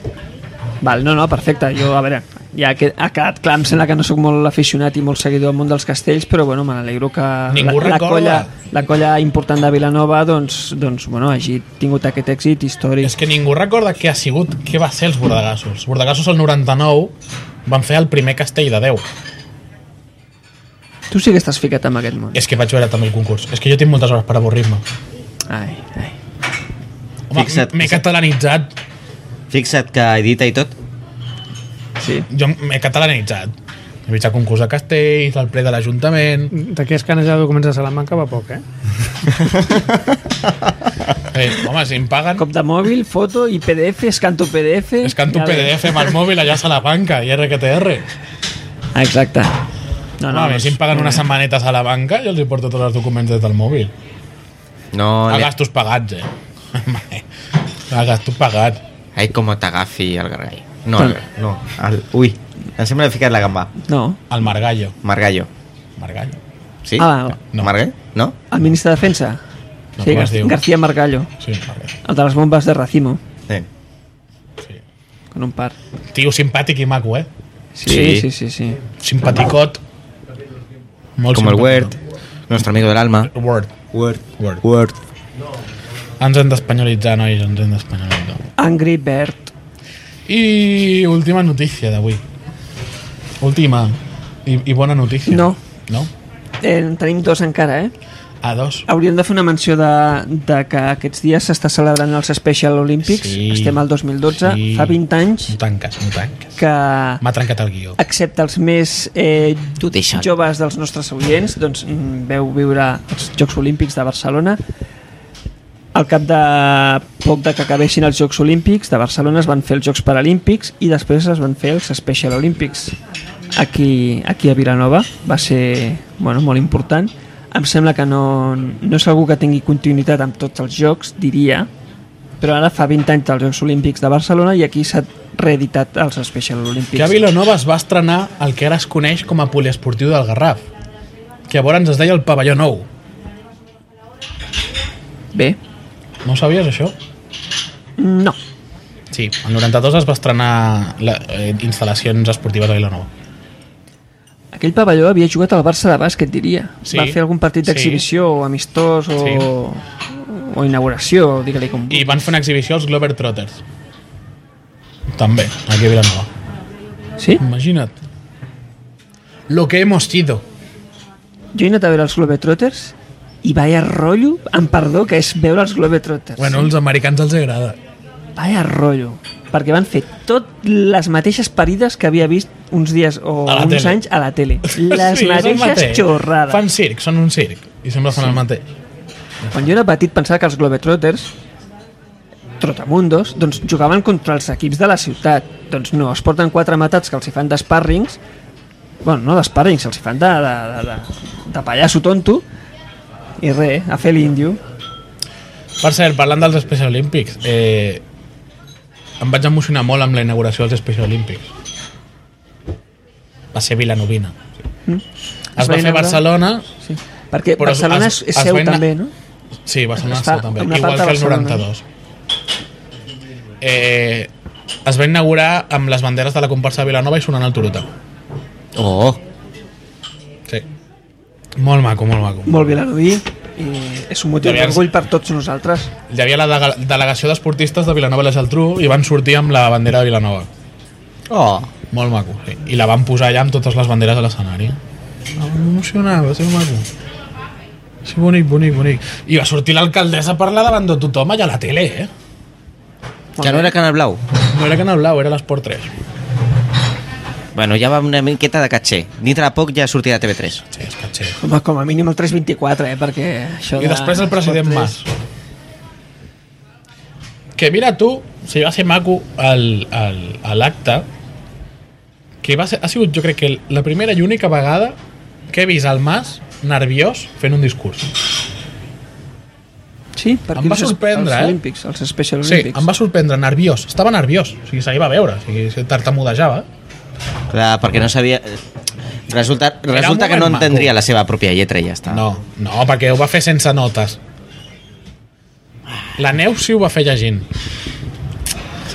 Speaker 3: Val, no, no, perfecte. Jo, a veure, ja que ha quedat clar, em sembla que no sóc molt aficionat i molt seguidor del món dels castells, però bueno, me n'alegro que
Speaker 2: Ningú
Speaker 3: la, la,
Speaker 2: recorda.
Speaker 3: colla, la colla important de Vilanova doncs, doncs, bueno, hagi tingut aquest èxit històric.
Speaker 2: És que ningú recorda què ha sigut, què va ser els bordegassos. Els bordegassos el 99 van fer el primer castell de 10.
Speaker 3: Tu sí que estàs ficat amb aquest món.
Speaker 2: És que vaig veure també el concurs. És que jo tinc moltes hores per avorrir-me.
Speaker 3: Ai, ai.
Speaker 2: Home,
Speaker 4: Fixa't.
Speaker 2: m'he catalanitzat.
Speaker 4: Fixa't que edita i tot.
Speaker 3: Sí.
Speaker 2: Jo m'he catalanitzat. He vist el concurs de castells, el ple de l'Ajuntament...
Speaker 5: D'aquí escanejar documents de Salamanca va poc, eh?
Speaker 2: Eh, home, si em paguen...
Speaker 3: Cop de mòbil, foto i PDF, escanto PDF...
Speaker 2: És que en tu
Speaker 3: Ja ve.
Speaker 2: PDF amb el mòbil allà a Salamanca i RQTR.
Speaker 3: Ah, Exacte.
Speaker 2: No, no, si em paguen
Speaker 3: Mm.
Speaker 2: unes setmanetes a la banca, jo els hi porto tots els documents des del mòbil.
Speaker 4: No,
Speaker 2: A
Speaker 4: le-
Speaker 2: gastos pagats, eh? A gastos pagats.
Speaker 4: Ai, com t'agafi el gargall. No,
Speaker 3: Tant.
Speaker 4: el, no. El, ui, em sembla que he ficat la gamba.
Speaker 3: No.
Speaker 2: Al Margallo.
Speaker 4: Margallo.
Speaker 2: Margallo.
Speaker 4: Sí?
Speaker 3: Ah,
Speaker 2: no.
Speaker 4: Margall? No?
Speaker 3: El ministre de Defensa?
Speaker 2: No,
Speaker 3: sí,
Speaker 2: com es
Speaker 3: Gar-
Speaker 2: diu?
Speaker 3: García Margallo.
Speaker 2: Sí, Margallo.
Speaker 3: El de les bombes de Racimo,
Speaker 4: Sí.
Speaker 2: Sí.
Speaker 3: con un par.
Speaker 2: Tio simpàtic i maco, eh?
Speaker 3: Sí, sí, sí. sí, sí.
Speaker 2: Simpaticot. Molt
Speaker 4: Como el Word,
Speaker 2: simpaticot.
Speaker 4: nuestro amigo del alma.
Speaker 2: Word.
Speaker 4: Word.
Speaker 2: Word.
Speaker 4: Word.
Speaker 2: Ens hem d'espanyolitzar, nois, ens hem d'espanyolitzar.
Speaker 3: Angry Bird.
Speaker 2: I última notícia d'avui. Última. I, I bona notícia.
Speaker 3: No.
Speaker 2: No?
Speaker 3: Eh, en tenim dos encara, eh?
Speaker 2: A dos.
Speaker 3: Hauríem de fer una menció de, de que aquests dies s'està celebrant els Special Olympics.
Speaker 2: Sí.
Speaker 3: Estem al 2012,
Speaker 2: Sí.
Speaker 3: fa 20 anys
Speaker 2: No tanques, no tanques.
Speaker 3: que
Speaker 2: M'ha trencat el guió.
Speaker 3: excepte els més eh,
Speaker 4: Tu deixa't.
Speaker 3: joves dels nostres oients doncs, mm, veu viure els Jocs Olímpics de Barcelona al cap de poc de que acabessin els Jocs Olímpics de Barcelona es van fer els Jocs Paralímpics i després es van fer els Special Olímpics aquí, aquí a Vilanova va ser bueno, molt important em sembla que no, no és algú que tingui continuïtat amb tots els Jocs diria però ara fa 20 anys dels Jocs Olímpics de Barcelona i aquí s'ha reeditat els Special Olímpics
Speaker 2: Que a Vilanova es va estrenar el que ara es coneix com a poliesportiu del Garraf, que llavors es deia el pavelló nou.
Speaker 3: Bé,
Speaker 2: No ho sabies, això?
Speaker 3: no.
Speaker 2: Sí, el 92 es va estrenar la, eh, instal·lacions esportives a Vilanova.
Speaker 3: Aquell pavelló havia jugat al Barça de bàsquet, diria.
Speaker 2: Sí.
Speaker 3: Va fer algun partit
Speaker 2: Sí.
Speaker 3: d'exhibició o amistós o,
Speaker 2: Sí.
Speaker 3: o inauguració, digue-li com...
Speaker 2: I van fer una exhibició als Glover Trotters. També, aquí a Vilanova.
Speaker 3: Sí?
Speaker 2: Imagina't. Lo que hemos sido.
Speaker 3: Jo he anat a veure els Globetrotters i vaya rotllo, amb perdó, que és veure els Globetrotters.
Speaker 2: Bueno, als americans els agrada.
Speaker 3: Vaya rotllo. Perquè van fer tot les mateixes parides que havia vist uns dies o
Speaker 2: A la
Speaker 3: uns
Speaker 2: tele.
Speaker 3: anys a la tele.
Speaker 2: és
Speaker 3: Les
Speaker 2: el
Speaker 3: mateixes
Speaker 2: mateix.
Speaker 3: xorrades.
Speaker 2: Fan circ, són un circ. I sempre fan sí. el mateix.
Speaker 3: Quan jo era petit pensava que els Globetrotters, trotamundos, doncs jugaven contra els equips de la ciutat. Doncs no, es porten quatre matats que els hi fan d'espàrrings, bueno, no d'espàrrings, els hi fan de, de, de, de, de pallasso tonto, i res, a fer l'índio.
Speaker 2: Per cert, parlant dels Special Olympics, eh, em vaig emocionar molt amb la inauguració dels Special Olympics. Va ser Vilanovina.
Speaker 3: Mm.
Speaker 2: Es,
Speaker 3: Es
Speaker 2: va
Speaker 3: va
Speaker 2: fer a
Speaker 3: inaugurar?
Speaker 2: Barcelona,
Speaker 3: Sí. Perquè
Speaker 2: Però
Speaker 3: Però
Speaker 2: es-
Speaker 3: Barcelona
Speaker 2: es-
Speaker 3: és, és
Speaker 2: es
Speaker 3: seu
Speaker 2: va anar-
Speaker 3: també, no?
Speaker 2: sí, Barcelona
Speaker 3: Es fa
Speaker 2: Sou també,
Speaker 3: una
Speaker 2: igual
Speaker 3: part a
Speaker 2: que el
Speaker 3: Barcelona.
Speaker 2: 92. Eh, es va inaugurar amb les banderes de la comparsa de Vilanova i sonant el Turuta.
Speaker 4: Oh,
Speaker 2: Sí. Molt maco, molt maco.
Speaker 3: Molt Vilanoví, i és un motiu
Speaker 2: Aviam.
Speaker 3: d'orgull per tots nosaltres.
Speaker 2: Hi havia la dega- delegació d'esportistes de Vilanova i la Geltrú i van sortir amb la bandera de Vilanova.
Speaker 4: oh.
Speaker 2: Molt maco, sí. I la van posar allà amb totes les banderes a l'escenari. Ah, Emocionava, va ser maco. Sí, bonic, bonic, bonic. I va sortir l'alcaldessa a parlar davant de tothom allà a la tele, eh?
Speaker 4: Que no era Canal Blau.
Speaker 2: No era Canal Blau, era l'Esport 3.
Speaker 4: Bueno, ja va amb una miqueta de caché. Dintre de poc ja sortirà a TV3.
Speaker 2: Sí, és que xer.
Speaker 3: Home, com a mínim el 324, eh? Perquè això
Speaker 2: I després el president Mas. Que mira tu, si va ser maco el- el- a l'acte, que va ser, ha sigut jo crec que la primera i única vegada que he vist el Mas nerviós fent un discurs.
Speaker 3: Sí, perquè
Speaker 2: Em va
Speaker 3: els-
Speaker 2: sorprendre,
Speaker 3: els
Speaker 2: eh?
Speaker 3: Olímpics, els Special
Speaker 2: Sí,
Speaker 3: Olímpics.
Speaker 2: em va sorprendre, nerviós. Estava nerviós, o sigui, se li va veure, o sigui, se tartamudejava.
Speaker 4: Clar, perquè no sabia... Resulta, resulta que no
Speaker 2: moment
Speaker 4: entendria
Speaker 2: maco.
Speaker 4: la seva pròpia lletra i ja està.
Speaker 2: No, no, perquè ho va fer sense notes. La Neus sí ho va fer llegint,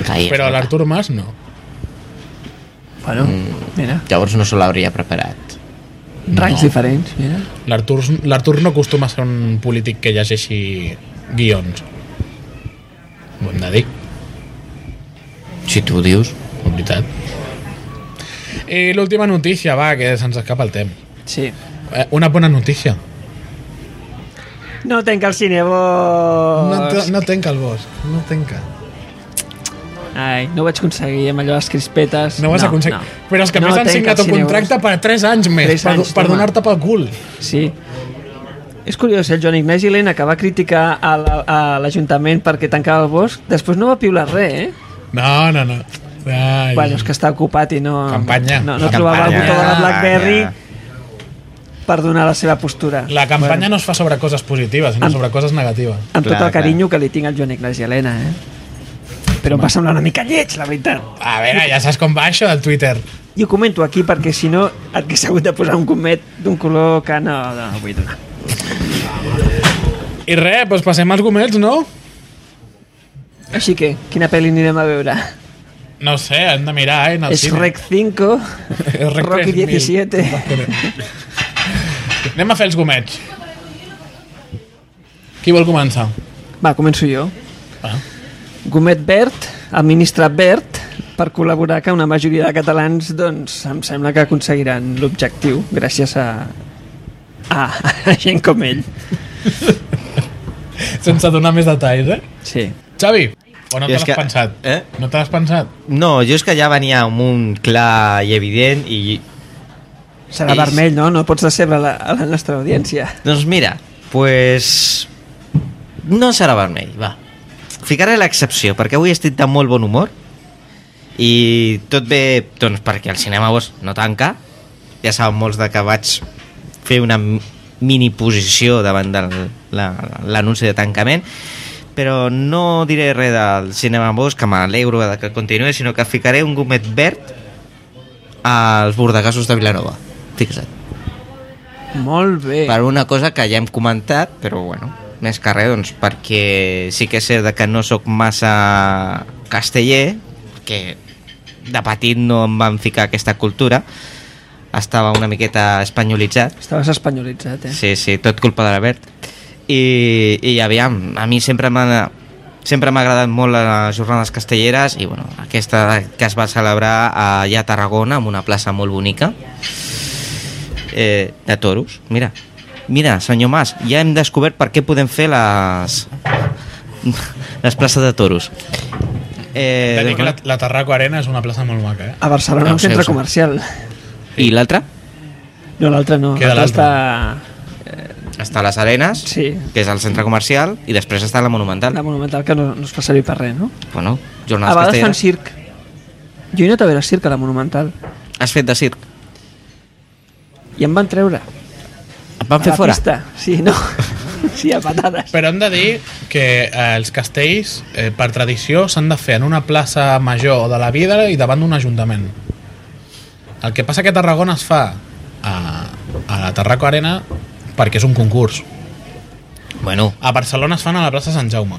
Speaker 4: Caia.
Speaker 2: però l'Artur Mas no.
Speaker 3: Bueno, mira,
Speaker 9: Llavors no se l'hauria preparat.
Speaker 3: rangs diferents, mira.
Speaker 2: L'Artur l'Artur no acostuma a ser un polític que llegeixi guions. Ho hem de dir,
Speaker 9: Si tu ho dius.
Speaker 2: la veritat. I l'última notícia, va, que se'ns escapa el temps.
Speaker 3: Sí.
Speaker 2: Eh, Una bona notícia.
Speaker 3: No tenca el cine, vos.
Speaker 5: No, te, no tenca el bosc, no tenca.
Speaker 3: Ai, no ho vaig aconseguir amb allò de les crispetes.
Speaker 2: No ho has no, aconseguit. No. Però és que a més han
Speaker 3: tenc
Speaker 2: signat
Speaker 3: els
Speaker 2: un contracte per 3 anys més,
Speaker 3: Tres
Speaker 2: per,
Speaker 3: anys,
Speaker 2: per
Speaker 3: toma.
Speaker 2: donar-te pel cul.
Speaker 3: euros. Sí. És curiós, eh? el Joan Ignasi Elena, que va criticar a la- a l'Ajuntament perquè tancava el bosc, després no va piular res, eh?
Speaker 2: No, no, no. Ai.
Speaker 3: Bueno, és que està ocupat i no...
Speaker 2: Campanya.
Speaker 3: No, no trobava el
Speaker 4: Campanya.
Speaker 3: botó de la BlackBerry per donar la seva postura.
Speaker 2: La campanya no es fa sobre coses positives, sinó
Speaker 3: Amb-
Speaker 2: sobre coses negatives.
Speaker 3: Amb tot
Speaker 4: Clar,
Speaker 3: el carinyo que li tinc al Joan Ignasi Elena, eh? Però em va semblar una mica lleig, la veritat.
Speaker 2: A veure, ja saps com va això del Twitter.
Speaker 3: I ho comento aquí perquè si no et hagués hagut de posar un comet d'un color que no, no vull donar.
Speaker 2: I res, doncs passem als gomets, no?
Speaker 3: Així que, quina pel·li anirem a veure?
Speaker 2: No ho sé, hem de mirar, eh? en el
Speaker 3: És
Speaker 2: cine.
Speaker 3: Rec 5,
Speaker 2: És Rec
Speaker 3: Rocky
Speaker 2: 3000.
Speaker 3: 17.
Speaker 2: Anem a fer els gomets. Qui vol començar?
Speaker 3: Va, començo jo.
Speaker 2: Ah.
Speaker 3: Gomet Verd, el ministre Verd, per col·laborar que una majoria de catalans doncs, em sembla que aconseguiran l'objectiu gràcies a, a, a gent com ell.
Speaker 2: Sense donar més detalls, eh?
Speaker 3: Sí.
Speaker 2: Xavi, o no
Speaker 4: Jo
Speaker 2: te
Speaker 4: és
Speaker 2: l'has
Speaker 4: que-
Speaker 2: pensat?
Speaker 4: Eh?
Speaker 2: No te l'has pensat?
Speaker 4: No, jo és que ja venia amb un clar i evident i...
Speaker 3: Serà
Speaker 4: Ells-
Speaker 3: vermell, no? No pots decebre la, a la nostra audiència.
Speaker 4: Doncs mira, pues... No serà vermell, va. Ficaré l'excepció, perquè avui estic de molt bon humor i tot ve doncs, perquè el cinema vos no tanca. Ja saben molts de que vaig fer una mi- mini posició davant de la- l'anunci de tancament però no diré res del cinema Bosch, que m'alegro de que continuï, sinó que ficaré un gomet verd als bordegassos de Vilanova. Fixa't
Speaker 3: Molt bé.
Speaker 4: per una cosa que ja hem comentat, però bueno, més que res, doncs, perquè sí que és cert que no sóc massa casteller, que de petit no em van ficar aquesta cultura, estava una miqueta espanyolitzat,
Speaker 3: Estaves espanyolitzat, eh?
Speaker 4: sí, sí, tot culpa de l'Albert, i, i aviam, a mi sempre m'ha sempre m'ha agradat molt les jornades castelleres i bueno, aquesta que es va celebrar allà a Tarragona, en una plaça molt bonica, eh, de toros. Mira, mira, senyor Mas, ja hem descobert per què podem fer les, les places de toros. Eh,
Speaker 2: Eh,
Speaker 4: doncs,
Speaker 2: que la, la Tarraco Arena és una plaça molt maca, eh?
Speaker 3: A Barcelona,
Speaker 4: Ah,
Speaker 3: un
Speaker 4: sí,
Speaker 3: centre
Speaker 4: sí.
Speaker 3: comercial.
Speaker 4: I l'altra?
Speaker 3: No, l'altre no.
Speaker 2: Queda
Speaker 3: L'altre
Speaker 2: l'altre.
Speaker 3: està...
Speaker 4: Està a les Arenes,
Speaker 3: Sí.
Speaker 4: que és el centre comercial, i després està la Monumental.
Speaker 3: La monumental que no, no es fa servir per res, no?
Speaker 4: Bueno,
Speaker 3: a
Speaker 4: jornades
Speaker 3: vegades fan
Speaker 4: castelleres.
Speaker 3: circ. Jo he anat a veure circ a la monumental.
Speaker 4: Has fet de circ.
Speaker 3: I em van treure.
Speaker 4: Et van fer
Speaker 3: a la
Speaker 4: fora.
Speaker 3: Pista. Sí, no. sí, a patades.
Speaker 2: Però hem de dir que eh, els castells, eh, per tradició, s'han de fer en una plaça major de la vida i davant d'un ajuntament. El que passa que a Tarragona es fa a, a la Tarraco Arena perquè és un concurs.
Speaker 4: Bueno,
Speaker 2: A Barcelona es fan a la plaça Sant Jaume.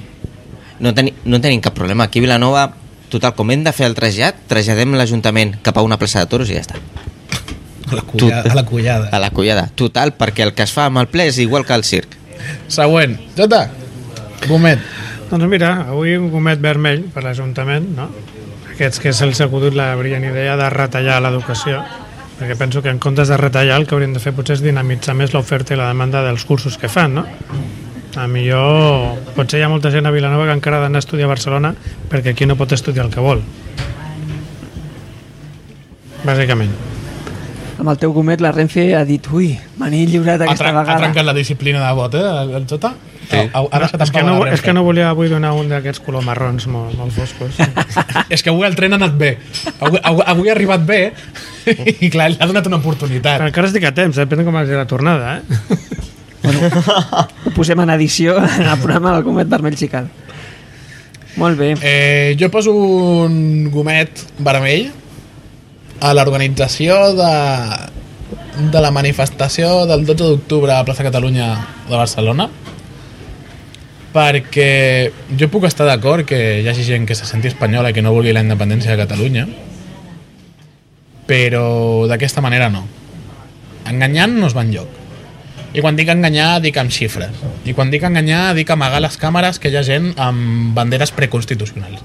Speaker 4: no, teni, no tenim cap problema. Aquí a Vilanova, total, com hem de fer el trasllat, traslladem l'Ajuntament cap a una plaça de toros i ja està.
Speaker 2: A la collada. A la collada.
Speaker 4: A la collada. Total, perquè el que es fa amb el ple és igual que el circ.
Speaker 2: Següent. Jota, gomet.
Speaker 5: Doncs mira, avui un gomet vermell per l'Ajuntament, no? Aquests que se'ls ha acudit la brillant idea de retallar l'educació, perquè penso que en comptes de retallar el que haurien de fer potser és dinamitzar més l'oferta i la demanda dels cursos que fan, no? A millor, potser hi ha molta gent a Vilanova que encara ha d'anar a estudiar a Barcelona perquè aquí no pot estudiar el que vol. Bàsicament.
Speaker 3: Amb el teu gomet la Renfe ha dit ui, me n'he lliurat
Speaker 2: Ha,
Speaker 3: aquesta
Speaker 2: tren ha
Speaker 3: vegada.
Speaker 2: trencat la disciplina de vot, eh, el, el Jota? Ah, Sí. Ha, ha deixat
Speaker 5: és, que
Speaker 2: en pau
Speaker 5: no,
Speaker 2: a la
Speaker 5: és que
Speaker 2: Renfe.
Speaker 5: no volia avui donar un d'aquests color marrons molt, molt foscos.
Speaker 2: Ah. És que avui el tren ha anat bé. Avui, avui, avui ha arribat bé i clar, li ha donat una oportunitat.
Speaker 5: Però encara estic a temps, eh? depèn de com hagi la tornada, eh?
Speaker 3: Ho posem en edició en el programa del gomet vermell xical. Molt bé.
Speaker 2: Eh, jo poso un gomet vermell a l'organització de, de la manifestació del 12 d'octubre a Plaça Catalunya de Barcelona perquè jo puc estar d'acord que hi hagi gent que se senti espanyola i que no vulgui la independència de Catalunya però d'aquesta manera no. Enganyant no es va enlloc. I quan dic enganyar, dic amb xifres. I quan dic enganyar, dic amagar les càmeres que hi ha gent amb banderes preconstitucionals.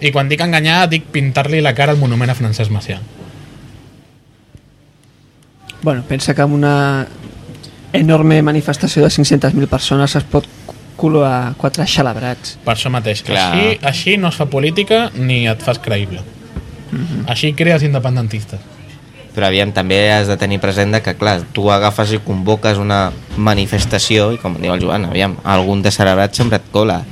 Speaker 2: I quan dic enganyar, dic pintar-li la cara al monument a Francesc Macià.
Speaker 3: Bueno, pensa que amb una enorme manifestació de 500.000 persones es pot culo a quatre xalabrats.
Speaker 2: Per això mateix.
Speaker 9: Clar.
Speaker 2: Així, així no es fa política ni et fas creïble. Mm -hmm. Així crees independentistes.
Speaker 4: Però aviam, també has de tenir present de que, clar, tu agafes i convoques una manifestació i, com diu el Joan, aviam, algun descerebrat sempre et cola.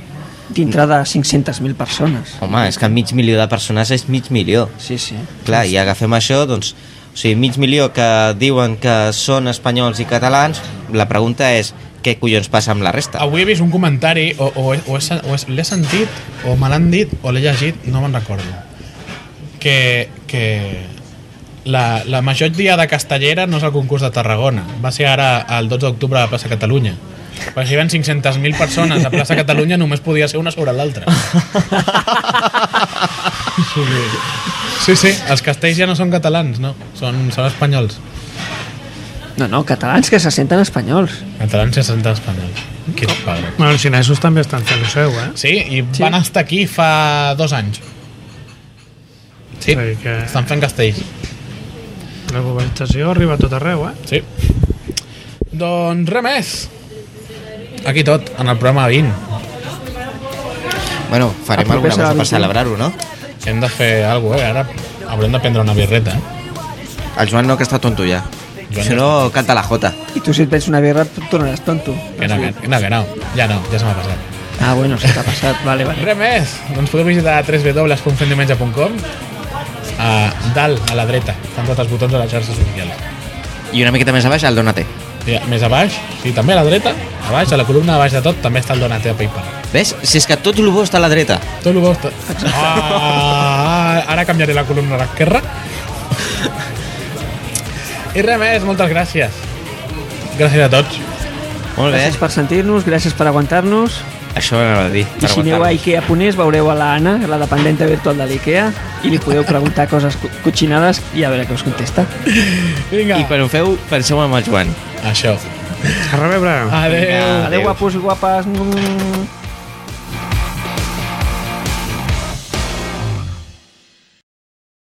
Speaker 3: Dintre de 500.000 persones.
Speaker 4: Home, és que mig milió de persones és mig milió.
Speaker 3: Sí, sí.
Speaker 4: Clar, i agafem això, doncs, o sigui, mig milió que diuen que són espanyols i catalans, la pregunta és què collons passa amb la resta?
Speaker 2: Avui he vist un comentari, o, o, he- o, he sen- o he- l'he sentit, o me l'han dit, o l'he llegit, no me'n recordo, que, que la, la major diada castellera no és el concurs de Tarragona, va ser ara el 12 d'octubre a la plaça Catalunya. Perquè si hi ven 500.000 persones a plaça Catalunya només podia ser una sobre l'altra. Sí, sí, els castells ja no són catalans, no, són, són espanyols.
Speaker 3: No, no, catalans que se senten espanyols.
Speaker 2: Catalans se senten espanyols. Quins padres.
Speaker 5: Bueno, els xinesos també estan fent el seu, eh?
Speaker 2: Sí, i sí. van estar aquí fa dos anys. Sí,
Speaker 5: O sigui que
Speaker 2: estan fent castells.
Speaker 5: la globalització arriba a tot arreu, eh?
Speaker 2: Sí. Doncs res més. Aquí tot, en el programa 20.
Speaker 4: Bueno, farem
Speaker 3: Apropeu-se a la
Speaker 4: alguna cosa per
Speaker 3: vintena.
Speaker 4: celebrar-ho, no?
Speaker 2: Hem de fer alguna cosa, eh? Ara haurem de prendre una birreta, eh?
Speaker 4: El Joan no, que està tonto ja.
Speaker 2: Joan
Speaker 4: Si no, canta la jota.
Speaker 3: I tu si et vens una birra et tornaràs tonto.
Speaker 2: Que no, que, no, que no. Ja no, ja se m'ha passat.
Speaker 3: Ah, bueno, se t'ha passat. Vale, vale.
Speaker 2: Res més. Doncs podeu visitar www.fendiumenge.com a dalt, a la dreta. Estan tots els botons de les xarxes socials.
Speaker 4: I una miqueta més a baix, el Donate.
Speaker 2: I més a baix, i també a la dreta, a baix, a la columna de baix de tot, també està el Donate a PayPal.
Speaker 4: Ves? Si és que tot el bo està a la dreta.
Speaker 2: Tot el bo està... Ah, ara canviaré la columna a l'esquerra. I res més, moltes gràcies. Gràcies a tots.
Speaker 4: Molt
Speaker 3: Gràcies per sentir-nos, gràcies per aguantar-nos.
Speaker 4: Això ho anava a dir.
Speaker 3: I si aneu a Ikea Punés veureu a l'Anna, la dependenta virtual de l'Ikea, i li podeu preguntar coses co- cotxinades i a veure què us contesta.
Speaker 2: Vinga.
Speaker 4: I quan ho feu, penseu en el Joan.
Speaker 2: Això.
Speaker 5: A reveure.
Speaker 2: Adeu.
Speaker 4: Vinga.
Speaker 3: Adéu,
Speaker 4: Adéu.
Speaker 3: guapos i guapes. Mm.